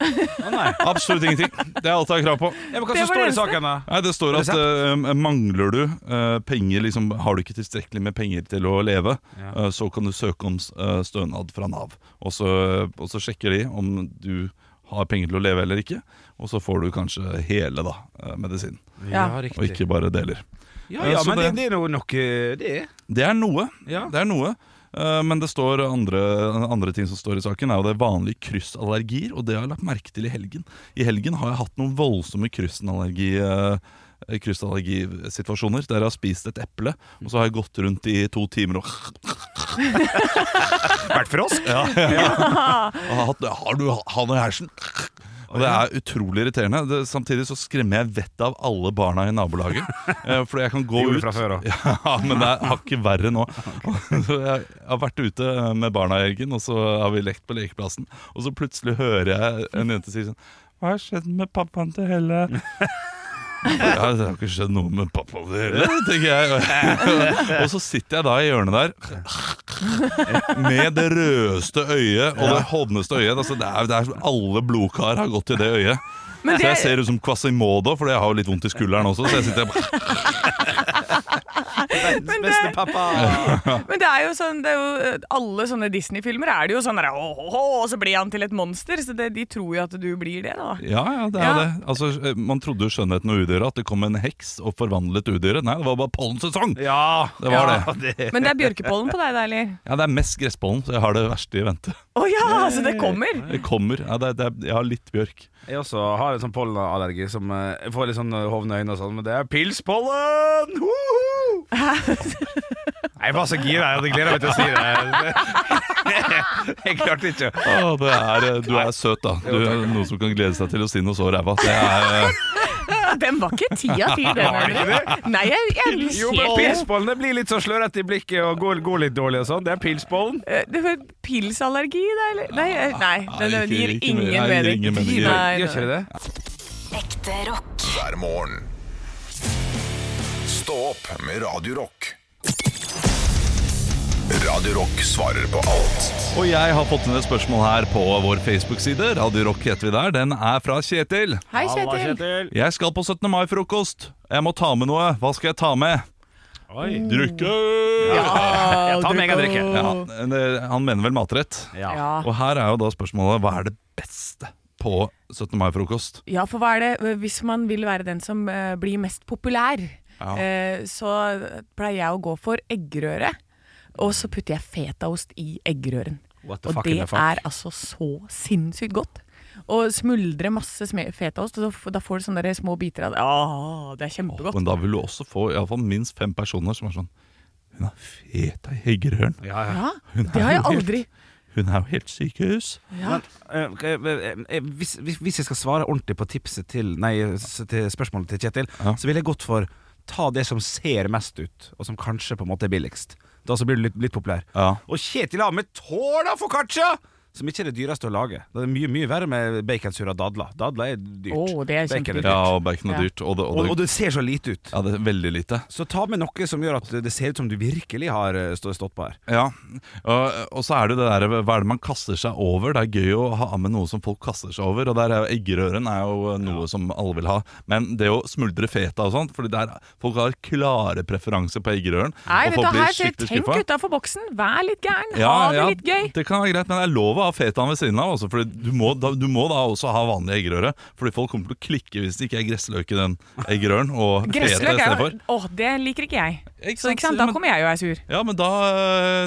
[SPEAKER 3] Absolutt ingenting. Det er alt jeg har krav på.
[SPEAKER 2] Ja, men
[SPEAKER 4] Det
[SPEAKER 2] Hva som
[SPEAKER 4] var
[SPEAKER 2] står
[SPEAKER 4] det
[SPEAKER 2] i saken, da?
[SPEAKER 3] Nei, Det står at
[SPEAKER 2] Resept?
[SPEAKER 3] eh, mangler du eh, penger, liksom, har du ikke tilstrekkelig med penger til å leve, eh, så kan du søke om eh, stønad fra Nav. Og så, og så sjekker de om du har penger til å leve eller ikke, og så får du kanskje hele da, eh, medisinen,
[SPEAKER 4] Ja.
[SPEAKER 3] og ikke bare deler.
[SPEAKER 2] Ja, ja,
[SPEAKER 3] Så
[SPEAKER 2] men
[SPEAKER 3] det-
[SPEAKER 2] det, det er noe, noe det. er.
[SPEAKER 3] Det er noe.
[SPEAKER 2] Ja.
[SPEAKER 3] Det er noe. Eh, Men det står andre, andre ting som står i saken, er jo det vanlige kryssallergier. Og det har jeg lagt merke til i helgen. I helgen har jeg hatt noen voldsomme kryssallergi, eh, kryssallergisituasjoner. Der jeg har spist et eple, og så har jeg gått rundt i to timer og
[SPEAKER 2] Vært frosk?
[SPEAKER 3] Jeg har hatt- Har du han i hersen? Og det er utrolig irriterende. Det, samtidig så skremmer jeg vettet av alle barna i nabolaget. Eh, fordi jeg kan gå
[SPEAKER 2] Gjorde
[SPEAKER 3] ut
[SPEAKER 2] du fra før, da?
[SPEAKER 3] Ja, men det er hakket verre nå. Så jeg har vært ute med barna i helgen, og så har vi lekt på lekeplassen. Og så plutselig hører jeg en jente si sånn Hva har skjedd med pappaen til Helle? Ja, det har ikke skjedd noe med pappaen til Helle, tenker jeg. Og så sitter jeg da i hjørnet der med det rødeste øyet og det hovneste øyet. Altså, det er, det er, alle blodkar har gått i det øyet.
[SPEAKER 4] Men
[SPEAKER 3] Så jeg
[SPEAKER 4] det-
[SPEAKER 3] ser ut som Quasimodo, for jeg har jo litt vondt i skulderen også. Så jeg sitter bare
[SPEAKER 4] Men det,
[SPEAKER 2] Beste pappa!
[SPEAKER 4] men det er jo sånn det er jo, Alle sånne Disney-filmer er det jo sånn der, «Åh, åh, åh», Og så blir han til et monster, så det, de tror jo at du blir det, da.
[SPEAKER 3] Ja, ja, det er
[SPEAKER 4] Ja.
[SPEAKER 3] det. Altså, man trodde jo skjønnheten og udyret, at det kom en heks og forvandlet udyret. Nei, det var bare pollensesong!
[SPEAKER 2] Ja,
[SPEAKER 3] Det var
[SPEAKER 2] ja,
[SPEAKER 3] det.
[SPEAKER 2] det.
[SPEAKER 4] Men det er bjørkepollen på deg, da, eller?
[SPEAKER 3] Ja, det er mest gresspollen, så jeg har det verste i vente.
[SPEAKER 4] Å ja, så det kommer!
[SPEAKER 3] Det kommer. Ja, det, det, jeg har litt bjørk.
[SPEAKER 2] Jeg også har en sånn pollenallergi som eh, jeg får litt sånn eh, hovne øyne og sånn, men det er pilspollen! Hoho! Nei, Jeg var så gira, jeg hadde gleda meg til å si det. Jeg klarte ikke
[SPEAKER 3] Å,
[SPEAKER 2] å
[SPEAKER 3] det er, du er søt, da. Du er noen som kan glede seg til å si noe så ræva. Det er eh,
[SPEAKER 4] Den var ikke ti av ti, den. Henrik. Nei, jeg, jeg er
[SPEAKER 2] Jo, men
[SPEAKER 4] helt
[SPEAKER 2] pilsbollene blir litt så slørete i blikket og går, går litt dårlig og sånn. Det er pilsbollen.
[SPEAKER 4] Eh, Det var pilsallergi, da, eller? Nei, eh, nei
[SPEAKER 3] Nei,
[SPEAKER 4] den, den
[SPEAKER 3] ikke-
[SPEAKER 4] gir
[SPEAKER 3] ikke
[SPEAKER 4] ingen
[SPEAKER 3] mer. Nei, det gir
[SPEAKER 4] mening.
[SPEAKER 3] ingen mening.
[SPEAKER 4] Nei, nei.
[SPEAKER 2] Gjør ikke det det?
[SPEAKER 5] Ekte rock.
[SPEAKER 1] hver morgen. Stå opp med Radio Rock. Radio Rock svarer på alt
[SPEAKER 3] Og jeg har fått inn et spørsmål her på vår Facebook-side. Radio Rock heter vi der. Den er fra Kjetil.
[SPEAKER 4] Hei, Kjetil.
[SPEAKER 3] Jeg skal på 17. mai-frokost. Jeg må ta med noe. Hva skal jeg ta med?
[SPEAKER 2] Oi.
[SPEAKER 3] Drikke!
[SPEAKER 2] Jeg tar megadrikke.
[SPEAKER 3] Ja, det- han mener vel matrett.
[SPEAKER 2] Ja.
[SPEAKER 4] Ja.
[SPEAKER 3] Og her er jo da spørsmålet hva er det beste på 17. mai-frokost?
[SPEAKER 4] ja, for hva er det eh, Hvis man vil være den som eh, blir mest populær,
[SPEAKER 3] Ja.
[SPEAKER 4] eh, så pleier jeg å gå for eggerøre. Og så putter jeg fetaost i eggerøren.
[SPEAKER 2] What the
[SPEAKER 4] Og
[SPEAKER 2] fuck in
[SPEAKER 4] det
[SPEAKER 2] the fuck?
[SPEAKER 4] er altså så sinnssykt godt. Og smuldre masse sme- fetaost, og så, f- da får du sånne der små biter av det. Åh, det er kjempegodt.
[SPEAKER 3] Men da vil du også få i alle fall minst fem personer som er sånn Hun er fet ei heggerøren.
[SPEAKER 2] Ja, ja.
[SPEAKER 4] Ja,
[SPEAKER 3] Hun er
[SPEAKER 4] det har jeg
[SPEAKER 3] jo helt-
[SPEAKER 4] aldri
[SPEAKER 3] Hun er jo helt sykehus.
[SPEAKER 4] ja.
[SPEAKER 2] Eh, eh, eh, Hvis, hvis hvis jeg skal svare ordentlig på tipset til Nei, s- til spørsmålet til Kjetil,
[SPEAKER 3] Ja.
[SPEAKER 2] så ville jeg gått for ta det som ser mest ut, og som kanskje på en måte er billigst. Da så blir du litt, litt populær.
[SPEAKER 3] Ja.
[SPEAKER 2] Og Kjetil har med tårna foccaccia! Som ikke er det dyreste å lage. Det er mye, mye verre med baconsurra dadler. Dadler er dyrt.
[SPEAKER 4] Åh, det er
[SPEAKER 2] Bacon er
[SPEAKER 4] kjempedyrt.
[SPEAKER 3] Ja, og bacon er
[SPEAKER 4] Ja.
[SPEAKER 3] dyrt. Og det, og
[SPEAKER 2] Og, og
[SPEAKER 3] det,
[SPEAKER 2] det ser så lite ut.
[SPEAKER 3] ja, det er veldig lite.
[SPEAKER 2] Så ta med noe som gjør at det ser ut som du virkelig har eh, stå- stått på her.
[SPEAKER 3] Ja, og, og så er det det der Hva er det man kaster seg over? Det er gøy å ha med noe som folk kaster seg over Og der er jo eggerøren er jo noe som alle vil ha Men det å smuldre feta og sånt Fordi der, folk har klare preferanser på eggerøren
[SPEAKER 4] Nei, vet du,
[SPEAKER 3] og folk
[SPEAKER 4] hva,
[SPEAKER 3] blir
[SPEAKER 4] her sier
[SPEAKER 3] skikkelig
[SPEAKER 4] tenk
[SPEAKER 3] skuffa.
[SPEAKER 4] utafor boksen. Vær litt gæren.
[SPEAKER 3] Ja,
[SPEAKER 4] ha det
[SPEAKER 3] ja,
[SPEAKER 4] litt gøy.
[SPEAKER 3] Det kan være greit, men det er lov å ha fetaen ved siden av også, Fordi du må, da, du må da også ha vanlig eggerøre Fordi folk kommer til å klikke hvis det ikke er gressløk i den eggerøren Og feta i
[SPEAKER 4] Gressløk er
[SPEAKER 3] stedet
[SPEAKER 4] jo
[SPEAKER 3] for
[SPEAKER 4] Åh, det liker ikke jeg.
[SPEAKER 3] Ikke
[SPEAKER 4] så ikke
[SPEAKER 3] sant,
[SPEAKER 4] sant, da
[SPEAKER 3] men-
[SPEAKER 4] kommer jeg og er sur.
[SPEAKER 3] Ja, men da,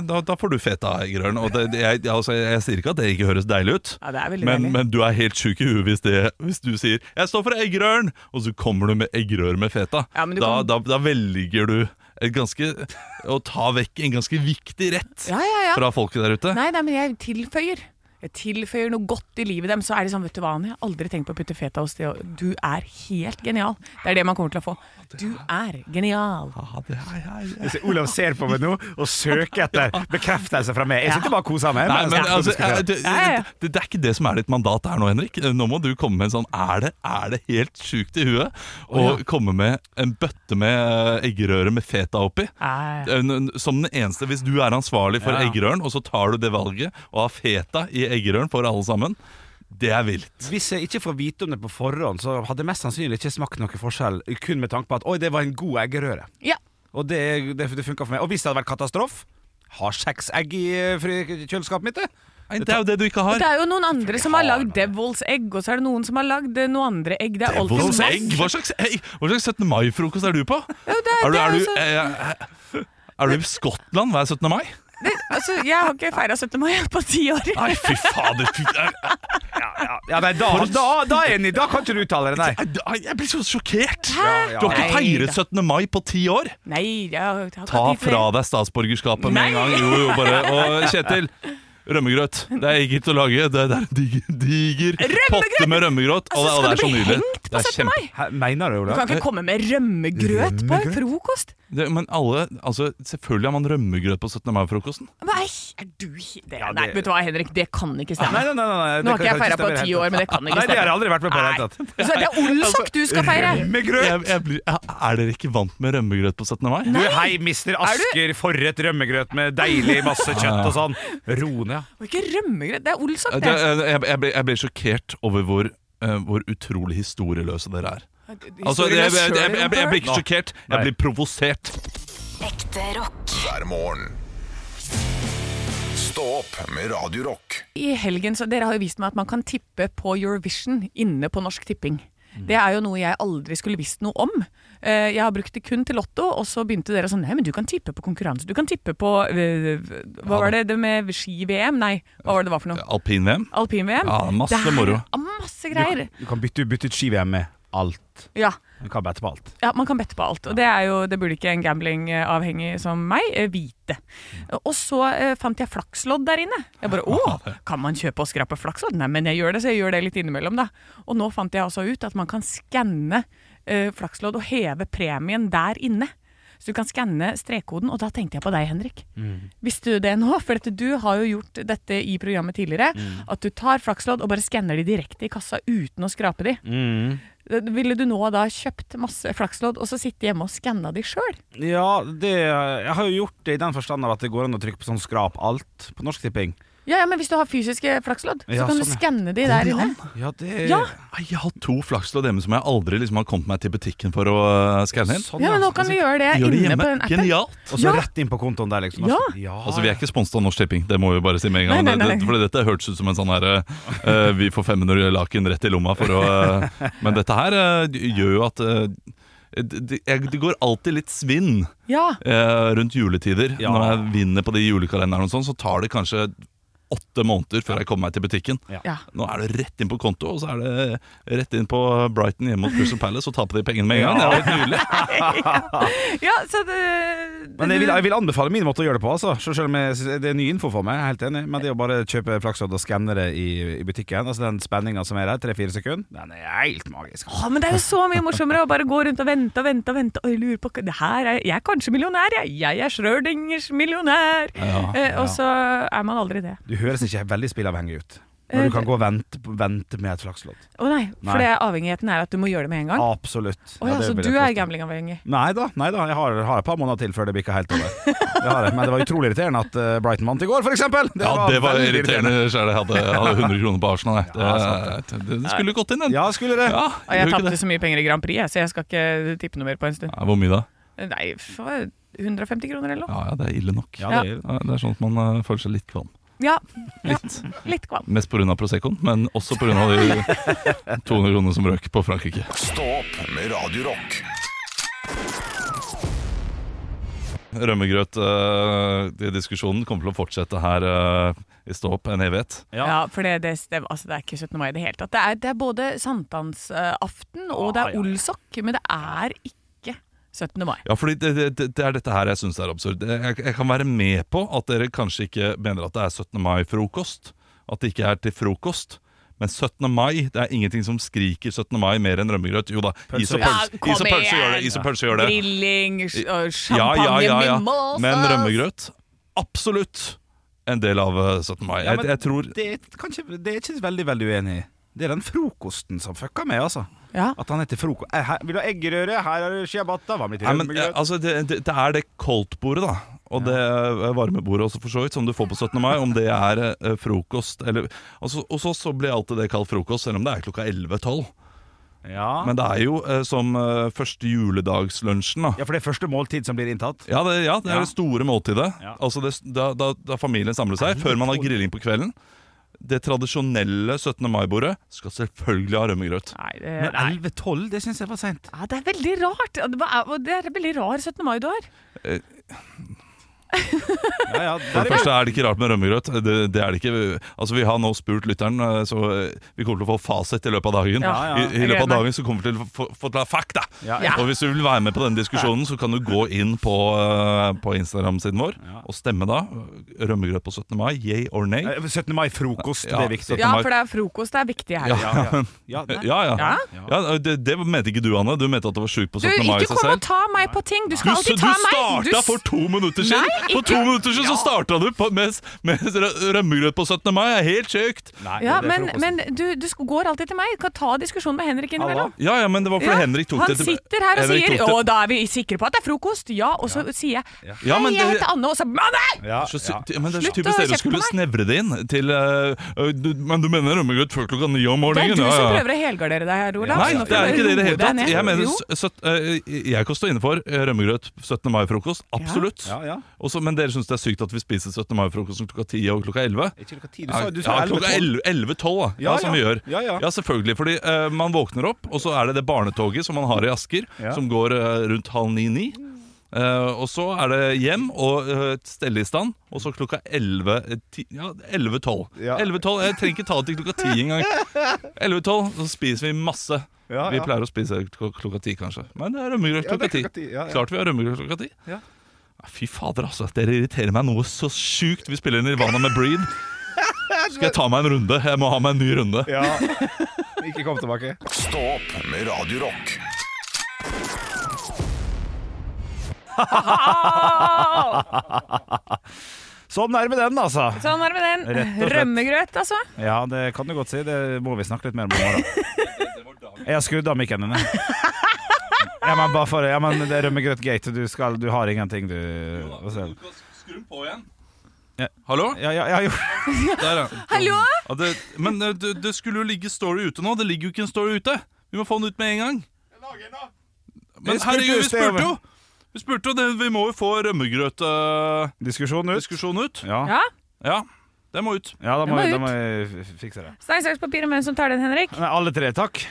[SPEAKER 3] da, da får du feta, Grønn. Og det, det- jeg, jeg- altså, jeg, jeg sier ikke at det ikke høres deilig ut.
[SPEAKER 4] Ja, det er veldig
[SPEAKER 3] Men,
[SPEAKER 4] deilig.
[SPEAKER 3] men du er helt sjuk i huet hvis, det- hvis du sier 'jeg står for eggerøren', og så kommer du med eggerør med feta.
[SPEAKER 4] Ja, men du
[SPEAKER 3] da,
[SPEAKER 4] kan-
[SPEAKER 3] da, da velger du et ganske, å ta vekk en ganske viktig rett
[SPEAKER 4] Ja, ja, ja.
[SPEAKER 3] fra folket der ute.
[SPEAKER 4] Nei, nei, men jeg tilføyer. Jeg tilføyer noe godt i livet dem, så er de sånn, vet du hva, Anne, jeg har aldri tenkt på å putte fetaost i, og du er helt genial. Det er det man kommer til å få. Du er genial.
[SPEAKER 3] Ja, det er jeg.
[SPEAKER 2] Så Olav ser på meg nå og søker etter bekreftelse fra meg. Jeg sitter bare og koser meg.
[SPEAKER 3] Nei, men
[SPEAKER 2] jeg-
[SPEAKER 3] altså, jeg- det,
[SPEAKER 4] Ja, ja.
[SPEAKER 3] det, det er ikke det som er ditt mandat her nå, Henrik. Nå må du komme med en sånn Er det, er det helt sjukt i huet å komme med en bøtte med eh, eggerøre med feta oppi?
[SPEAKER 4] Nei.
[SPEAKER 3] En- en- Som den eneste, hvis du er ansvarlig for
[SPEAKER 2] Ja, ja.
[SPEAKER 3] eggerøren, og så tar du det valget og har feta i eggerøren for alle sammen, det er vilt.
[SPEAKER 2] Hvis jeg ikke får vite om det på forhånd, så hadde jeg mest sannsynlig ikke smakt noe forskjell. Kun med tanke på at 'oi, det var en god eggerøre'.
[SPEAKER 4] Ja.
[SPEAKER 2] Og det, det, det funka for meg. Og hvis det hadde vært katastrofe har seks egg i eh, fri- kjøleskapet mitt. jeg.
[SPEAKER 3] Nei, det er jo det du ikke
[SPEAKER 4] Det
[SPEAKER 3] har.
[SPEAKER 4] er jo noen andre som har lagd Devil's Egg, og så er det noen som har lagd eh, noe andre egg. Det er alltid
[SPEAKER 3] Devil's
[SPEAKER 4] masse-
[SPEAKER 3] egg? Hva slags, egg? Hva slags 17. mai-frokost er du på?
[SPEAKER 4] Jo, det er-
[SPEAKER 3] er,
[SPEAKER 4] det er
[SPEAKER 3] du, eh, er,
[SPEAKER 4] jo
[SPEAKER 3] du,
[SPEAKER 4] sånn-
[SPEAKER 3] eh, er du i Skottland hver 17. mai?
[SPEAKER 4] det, altså, jeg har ikke feira 17. mai på ti år.
[SPEAKER 3] Nei, fy fader. Fy, nei,
[SPEAKER 2] Ja, nei, da, da, da er jeg enig. Da kan ikke du uttale det, nei.
[SPEAKER 3] nei, nei, jeg blir så sjokkert.
[SPEAKER 4] Hæ?
[SPEAKER 3] Du har ikke
[SPEAKER 4] Nei
[SPEAKER 3] feiret 17. mai på ti år.
[SPEAKER 4] Nei, jeg har ikke
[SPEAKER 3] Ta fra deg statsborgerskapet med en gang. Jo, jo, bare. Og Kjetil, rømmegrøt. Det er enkelt å lage. Det det er en diger, diger
[SPEAKER 4] Rømmegrøt!
[SPEAKER 3] potte med rømmegrøt. Og det, og
[SPEAKER 4] Altså, skal
[SPEAKER 3] det er så
[SPEAKER 4] du bli
[SPEAKER 3] nydelig.
[SPEAKER 4] hengt på
[SPEAKER 3] Det er
[SPEAKER 4] 17. mai?
[SPEAKER 2] Hæ, mener du,
[SPEAKER 4] Du
[SPEAKER 2] Ola?
[SPEAKER 4] kan ikke komme med rømmegrøt på en
[SPEAKER 2] Rømmegrøt?
[SPEAKER 4] frokost!
[SPEAKER 3] Det, men alle, altså, selvfølgelig har man rømmegrøt på 17. mai-frokosten.
[SPEAKER 4] Nei, er du he- det,
[SPEAKER 2] Ja, det-
[SPEAKER 4] Nei, vet du hva, Henrik, det kan ikke stemme.
[SPEAKER 2] Nei, nei, nei, nei, nei. det
[SPEAKER 4] Nå har ikke
[SPEAKER 2] kan-
[SPEAKER 4] jeg
[SPEAKER 2] kan
[SPEAKER 4] feira på
[SPEAKER 2] stemme i det
[SPEAKER 4] ti
[SPEAKER 2] hele
[SPEAKER 4] år, men det kan
[SPEAKER 2] tatt.
[SPEAKER 4] ikke
[SPEAKER 2] Nei, det har jeg
[SPEAKER 4] stemme.
[SPEAKER 2] aldri vært med på i det hele tatt.
[SPEAKER 4] Så det er Olsok du
[SPEAKER 2] Altså,
[SPEAKER 4] skal feire!
[SPEAKER 2] Rømmegrøt!
[SPEAKER 3] Jeg, jeg blir, er dere ikke vant med rømmegrøt på 17. mai?
[SPEAKER 2] Du, hei, mister Asker, forrett rømmegrøt med deilig masse kjøtt og sånn. Ro ned.
[SPEAKER 4] Og ikke rømmegrøt, det er Olsok,
[SPEAKER 3] Det,
[SPEAKER 4] det.
[SPEAKER 3] jeg, jeg, jeg, ble, jeg ble sjokkert over hvor, eh, hvor utrolig historieløse dere er. Altså, jeg, jeg, jeg, jeg, jeg, jeg blir ikke sjokkert,
[SPEAKER 2] Nei.
[SPEAKER 3] jeg blir provosert.
[SPEAKER 5] Ekte rock.
[SPEAKER 1] hver morgen. Stå opp med Radio Rock.
[SPEAKER 4] I helgen, så Dere har jo vist meg at man kan tippe på Eurovision inne på Norsk Tipping.
[SPEAKER 3] Mm.
[SPEAKER 4] Det er jo noe jeg aldri skulle visst noe om. Eh, Jeg har brukt det kun til Lotto, og så begynte dere sånn Nei, men du kan tippe på konkurranse. Du kan tippe på eh, Hva var det, det med ski-VM? Nei, hva var det det var for noe?
[SPEAKER 3] Alpin-VM?
[SPEAKER 4] Alpin-VM?
[SPEAKER 3] Ja, masse
[SPEAKER 4] Det er
[SPEAKER 3] moro.
[SPEAKER 4] Masse greier.
[SPEAKER 2] Du kan bytte, bytte ut ski-VM med alt.
[SPEAKER 4] Ja.
[SPEAKER 2] Du kan bette på alt.
[SPEAKER 4] Ja, man kan bette på alt, og det er jo, det burde ikke en gamblingavhengig som meg eh, vite. Og så eh, fant jeg flakslodd der inne. Jeg bare, å, kan man kjøpe og skrape flakslodd? Nei, men jeg gjør det, så jeg gjør det litt innimellom da. Og nå fant jeg også ut at man kan skanne eh, flakslodd og heve premien der inne. Så du kan skanne strekkoden, og da tenkte jeg på deg, Henrik. Visste du det nå? For at du har jo gjort dette i programmet tidligere, at du tar flakslodd og bare skanner de direkte i kassa uten å skrape de. Ville du nå da kjøpt masse flakslodd og så sitte hjemme og skanna de sjøl?
[SPEAKER 2] Ja, det, jeg har jo gjort det i den forstand av at det går an å trykke på sånn skrap alt på Norsk Tipping.
[SPEAKER 4] Ja, ja, men hvis du har fysiske flakslodd, så
[SPEAKER 2] Ja,
[SPEAKER 4] kan
[SPEAKER 2] sånn,
[SPEAKER 4] du
[SPEAKER 2] ja.
[SPEAKER 4] skanne de der inne.
[SPEAKER 2] Ja, Eh, det
[SPEAKER 4] Ja.
[SPEAKER 3] Nei, Jeg har to flakslodd hjemme som jeg aldri liksom har kommet meg til butikken for å øh, skanne inn.
[SPEAKER 2] Sånn,
[SPEAKER 4] Ja, men nå kan vi gjøre det
[SPEAKER 3] Gjør det
[SPEAKER 4] inne på
[SPEAKER 3] hjemme.
[SPEAKER 4] den appen.
[SPEAKER 3] Genialt!
[SPEAKER 2] Og så
[SPEAKER 4] Ja.
[SPEAKER 2] rett inn på kontoen der, liksom.
[SPEAKER 4] Ja.
[SPEAKER 3] Altså, Vi er ikke sponset av Norsk Tipping, det må vi bare si med en gang.
[SPEAKER 4] Nei, nei, nei.
[SPEAKER 3] Det- det- For dette hørtes ut som en sånn her øh, Vi får 500 laken rett i lomma for å øh, Men dette her øh, gjør jo at øh, det, det- jeg- det går alltid litt svinn
[SPEAKER 4] Ja.
[SPEAKER 3] eh, rundt juletider.
[SPEAKER 2] Ja.
[SPEAKER 3] Når jeg vinner på de julekalenderne, og sånn, så tar det kanskje åtte måneder før jeg kommer meg til butikken.
[SPEAKER 4] ja.
[SPEAKER 3] Nå er det rett inn på konto, og så er det rett inn på Brighton hjemme mot Crystal Palace og tape de pengene med en gang. Det er jo helt nydelig.
[SPEAKER 4] Ja, så det,
[SPEAKER 2] Men jeg vil, jeg vil anbefale min måte å gjøre det på. Altså. Så Selv om jeg, synes- det er ny info for meg, jeg er helt enig. Men det å bare kjøpe flakslodd og skanne det i, i butikken, altså den spenninga som er der, tre-fire sekunder, den er helt magisk.
[SPEAKER 4] Å, men det er jo så mye morsommere å bare gå rundt og vente og vente og vente. Og jeg lurer på det her er, Jeg er kanskje millionær, jeg. Jeg er Schrødingers millionær. Eh, og så er man aldri det.
[SPEAKER 2] Du høres ikke veldig spillavhengig ut.
[SPEAKER 4] Eh,
[SPEAKER 2] Når du kan gå og vente, vente med et flakslodd.
[SPEAKER 4] Å nei,
[SPEAKER 2] Nei.
[SPEAKER 4] for det er avhengigheten er at du må gjøre det med en gang.
[SPEAKER 2] Absolutt.
[SPEAKER 4] Å ja,
[SPEAKER 2] det
[SPEAKER 4] så
[SPEAKER 2] vil
[SPEAKER 4] du
[SPEAKER 2] jeg
[SPEAKER 4] er
[SPEAKER 2] påstå.
[SPEAKER 4] gamblingavhengig.
[SPEAKER 2] Nei da, nei da. jeg har, har et par måneder til før det bikker helt over. Det har jeg. Men det var utrolig irriterende at eh, Brighton vant i går, f.eks.
[SPEAKER 3] Ja, det var irriterende sjæl. Jeg hadde, jeg hadde 100 kroner på Arsenal. jeg. Det, det, det skulle gått inn, den.
[SPEAKER 2] Ja, skulle det.
[SPEAKER 3] Ja,
[SPEAKER 4] Og jeg
[SPEAKER 3] gjorde ikke
[SPEAKER 4] tapte så mye penger i Grand Prix, jeg, så jeg skal ikke tippe noe mer på en stund.
[SPEAKER 3] det. Ja, hvor mye da?
[SPEAKER 4] Nei, for 150 kroner eller noe.
[SPEAKER 3] Ja, ja, det er ille nok.
[SPEAKER 2] Ja,
[SPEAKER 3] Ja,
[SPEAKER 2] det er-
[SPEAKER 3] Det er sånn at man eh, føler seg litt kvalm.
[SPEAKER 4] Ja,
[SPEAKER 3] Litt.
[SPEAKER 4] litt kvalm.
[SPEAKER 3] Mest pga. Proseccoen, men også pga. de 200 kronene som røk på Frankrike.
[SPEAKER 1] Stå opp med Radio Rock.
[SPEAKER 3] Rømmegrøt-diskusjonen eh, kommer til å fortsette her eh, i Stå opp en evighet.
[SPEAKER 4] Ja, for det, det, det, altså, det er ikke 17. mai i det hele tatt. Det er, det er både sankthansaften og det er Olsok, men det er ikke 17. mai.
[SPEAKER 3] Ah, Ja, fordi det, det, det- det er dette her jeg syns er absurd. Jeg, jeg kan være med på at dere kanskje ikke mener at det er 17. mai-frokost. At det ikke er til frokost. Men 17. mai, det er ingenting som skriker 17. mai mer enn rømmegrøt. Jo da, is og
[SPEAKER 2] Ja,
[SPEAKER 3] pølse, is og pølse gjør det. Is og pølse gjør det.
[SPEAKER 4] Grilling, sj- og
[SPEAKER 3] Ja,
[SPEAKER 4] champagne,
[SPEAKER 3] ja, ja, ja.
[SPEAKER 4] mimosas.
[SPEAKER 3] Men rømmegrøt, absolutt en del av eh, 17. mai.
[SPEAKER 2] Ja,
[SPEAKER 3] Jeg,
[SPEAKER 2] men
[SPEAKER 3] jeg tror
[SPEAKER 2] det, er kanskje, det er ikke veldig, veldig uenig i. Det er den frokosten som fucka med, altså.
[SPEAKER 4] Ja.
[SPEAKER 2] At han heter frokost Eh, her, Vil du ha eggerøre? Her er det ciabatta. Hva med litt
[SPEAKER 3] Nei, men, eh,
[SPEAKER 2] rømmegrøt?
[SPEAKER 3] altså, det, det, det er det koldtbordet, da. Og det eh, varmebordet også, for så vidt, som du får på 17. mai. Om det er eh, frokost eller altså, Og så, så blir alltid det kalt frokost, selv om det er klokka 11-12.
[SPEAKER 2] Ja.
[SPEAKER 3] Men det er jo eh, som eh, første juledagslunsjen, da.
[SPEAKER 2] ja, for det er første måltid som blir inntatt.
[SPEAKER 3] Ja, det, ja, det er
[SPEAKER 2] Ja.
[SPEAKER 3] det store måltidet.
[SPEAKER 2] Ja.
[SPEAKER 3] Altså det, da, da, da familien samler seg, før man har grilling på kvelden. Det tradisjonelle 17. mai-bordet skal selvfølgelig ha rømmegrøt.
[SPEAKER 4] Nei, det,
[SPEAKER 2] Men
[SPEAKER 4] nei.
[SPEAKER 2] 11-12, det syns jeg var seint.
[SPEAKER 4] Ja, det er veldig rart. Og Det er- og det er en veldig rar 17. mai du har.
[SPEAKER 2] Ja, ja, der
[SPEAKER 3] For
[SPEAKER 2] er
[SPEAKER 3] det
[SPEAKER 2] vi.
[SPEAKER 3] første er det ikke rart med rømmegrøt. Det, det er det ikke. Altså, vi har nå spurt lytteren, eh, så eh, vi kommer til å få fasit i løpet av dagen.
[SPEAKER 4] Ja,
[SPEAKER 2] ja.
[SPEAKER 3] I, I
[SPEAKER 4] Jeg gleder
[SPEAKER 3] løpet av dagen så kommer vi til å få, få ta fakta.
[SPEAKER 2] Ja.
[SPEAKER 4] Ja.
[SPEAKER 3] Og hvis du vil være med på denne diskusjonen, så kan du gå inn på, eh, på Instagram-siden vår og stemme da. Rømmegrøt på 17. mai, yay or nay.
[SPEAKER 2] Eh, 17. mai-frokost,
[SPEAKER 3] Ja.
[SPEAKER 2] det er viktig.
[SPEAKER 4] Ja, for det er frokost det er viktig her.
[SPEAKER 2] Ja, ja. Ja, nei.
[SPEAKER 3] Ja, ja.
[SPEAKER 4] Ja?
[SPEAKER 3] Ja, det, det mente ikke du, Anne. Du mente at det var sjukt på
[SPEAKER 4] Du,
[SPEAKER 3] 17. mai i
[SPEAKER 4] ikke
[SPEAKER 3] seg
[SPEAKER 4] kom og
[SPEAKER 3] selv.
[SPEAKER 4] ta meg på ting! Du
[SPEAKER 3] Du,
[SPEAKER 4] skal
[SPEAKER 3] du
[SPEAKER 4] alltid ta meg!
[SPEAKER 3] starta for to minutter siden!
[SPEAKER 4] Nei,
[SPEAKER 3] for
[SPEAKER 4] ikke-
[SPEAKER 3] to minutter siden så starta du på, med, med rø- rømmegrøt på 17. mai! Det er Helt sjukt!
[SPEAKER 2] Nei,
[SPEAKER 4] Ja,
[SPEAKER 2] det er
[SPEAKER 4] men,
[SPEAKER 2] frokosten.
[SPEAKER 4] men du, du sk- går alltid til meg. Kan ta diskusjonen med Henrik
[SPEAKER 2] Hallo?
[SPEAKER 4] innimellom.
[SPEAKER 3] Ja, ja, men det var fordi
[SPEAKER 4] Ja,
[SPEAKER 3] Henrik tok
[SPEAKER 4] han
[SPEAKER 3] det til-
[SPEAKER 4] sitter her og
[SPEAKER 3] Henrik
[SPEAKER 4] sier
[SPEAKER 3] tok
[SPEAKER 4] 'Å,
[SPEAKER 3] det-
[SPEAKER 4] da er vi sikre på at det er frokost'. Ja, og så sier jeg 'Hei,
[SPEAKER 3] Ja, men
[SPEAKER 4] jeg
[SPEAKER 3] det-
[SPEAKER 4] heter Anne', og så «Mann, nei!»
[SPEAKER 2] Ja,
[SPEAKER 3] så, sy-
[SPEAKER 2] ja.
[SPEAKER 3] Men det er så
[SPEAKER 4] Slutt
[SPEAKER 3] typisk
[SPEAKER 4] å
[SPEAKER 3] dere
[SPEAKER 4] kjefte på
[SPEAKER 3] skulle snevre det inn til eh, øh, du, Men du mener rømmegrøt før klokka ni om
[SPEAKER 4] Det er
[SPEAKER 3] morgenen?
[SPEAKER 4] du
[SPEAKER 3] Ja,
[SPEAKER 4] som
[SPEAKER 3] ja.
[SPEAKER 4] prøver å helgardere deg her, Olav.
[SPEAKER 3] Nei,
[SPEAKER 4] Nå
[SPEAKER 3] det
[SPEAKER 4] får
[SPEAKER 3] er
[SPEAKER 4] du
[SPEAKER 3] ikke det i det
[SPEAKER 4] roe
[SPEAKER 3] hele
[SPEAKER 4] deg
[SPEAKER 3] tatt.
[SPEAKER 4] ned.
[SPEAKER 3] Jeg, mener,
[SPEAKER 4] Jo.
[SPEAKER 3] s- søtt- eh, jeg kan stå inne for eh, rømmegrøt 17. mai-frokost. Absolutt.
[SPEAKER 2] Ja, ja.
[SPEAKER 3] Også, men dere syns det er sykt at vi spiser 17. mai-frokosten klokka 10 og klokka 11?
[SPEAKER 2] Ikke klokka ti, du sa, du sa
[SPEAKER 3] ja,
[SPEAKER 2] 11,
[SPEAKER 3] klokka
[SPEAKER 2] 12.
[SPEAKER 3] 11-12, da. Ja,
[SPEAKER 2] Ja,
[SPEAKER 3] som
[SPEAKER 2] ja.
[SPEAKER 3] vi gjør.
[SPEAKER 2] Ja, ja.
[SPEAKER 3] selvfølgelig. Fordi eh, man våkner opp, og så er det det barnetoget som man har i Asker,
[SPEAKER 2] Ja.
[SPEAKER 3] som går eh, rundt halv ni-ni. og så er det hjem og eh, stelle i stand, og så klokka 11 eh, ti- Ja, 11-12.
[SPEAKER 2] Ja.
[SPEAKER 3] 11-12, Jeg trenger ikke ta det til klokka 10 engang. 11-12, så spiser vi masse.
[SPEAKER 2] Ja,
[SPEAKER 3] Vi
[SPEAKER 2] ja.
[SPEAKER 3] pleier å spise kl- klokka 10, kanskje. Men det er rømmegrøt
[SPEAKER 2] Ja, det
[SPEAKER 3] klokka 10.
[SPEAKER 2] er klokka 10, ja, ja.
[SPEAKER 3] Klart vi har rømmegrøt klokka 10.
[SPEAKER 2] Ja.
[SPEAKER 3] Ah, Fy fader, altså. Dere irriterer meg noe så sjukt. Vi spiller Nirvana med Breed. Skal jeg ta meg en runde? Jeg må ha meg en ny runde.
[SPEAKER 2] Ja. Ikke kom tilbake.
[SPEAKER 1] Stå opp med Radio Rock.
[SPEAKER 2] Sånn er det med den, altså.
[SPEAKER 4] Sånn er det med
[SPEAKER 2] Rett og
[SPEAKER 4] den.
[SPEAKER 2] slett.
[SPEAKER 4] Rømmegrøt, altså.
[SPEAKER 2] Ja, det kan du godt si. Det må vi snakke litt mer om i morgen. Jeg har skrudd av mikken din. jeg. Ja, men bare for, ja, men det er rømmegrøt gate. Du, skal, du har ingenting, du. Hva sier du?
[SPEAKER 3] Skru den på igjen.
[SPEAKER 2] Ja.
[SPEAKER 3] Hallo?
[SPEAKER 2] Ja, ja, ja, jo.
[SPEAKER 3] Der, ja.
[SPEAKER 4] Hallo?
[SPEAKER 3] ja det, men eh, det, det skulle jo ligge story ute nå. Det ligger jo ikke en story ute. Vi må få den ut med en gang. Men
[SPEAKER 2] Vi spurte
[SPEAKER 3] herregud,
[SPEAKER 2] jo
[SPEAKER 3] vi
[SPEAKER 2] sted
[SPEAKER 3] spurte
[SPEAKER 2] over.
[SPEAKER 3] jo! Vi spurte jo, det, Vi må jo få rømmegrøtdiskusjonen
[SPEAKER 2] Diskusjon ut.
[SPEAKER 3] ut.
[SPEAKER 2] Ja,
[SPEAKER 4] Ja.
[SPEAKER 3] Ja, det må ut.
[SPEAKER 2] ja da,
[SPEAKER 4] Det
[SPEAKER 2] må,
[SPEAKER 4] må
[SPEAKER 2] vi-
[SPEAKER 4] ut.
[SPEAKER 2] da må vi f- fikse det.
[SPEAKER 4] Stein, saks, papir om hvem som tar den, Henrik.
[SPEAKER 2] Nei, alle tre, takk.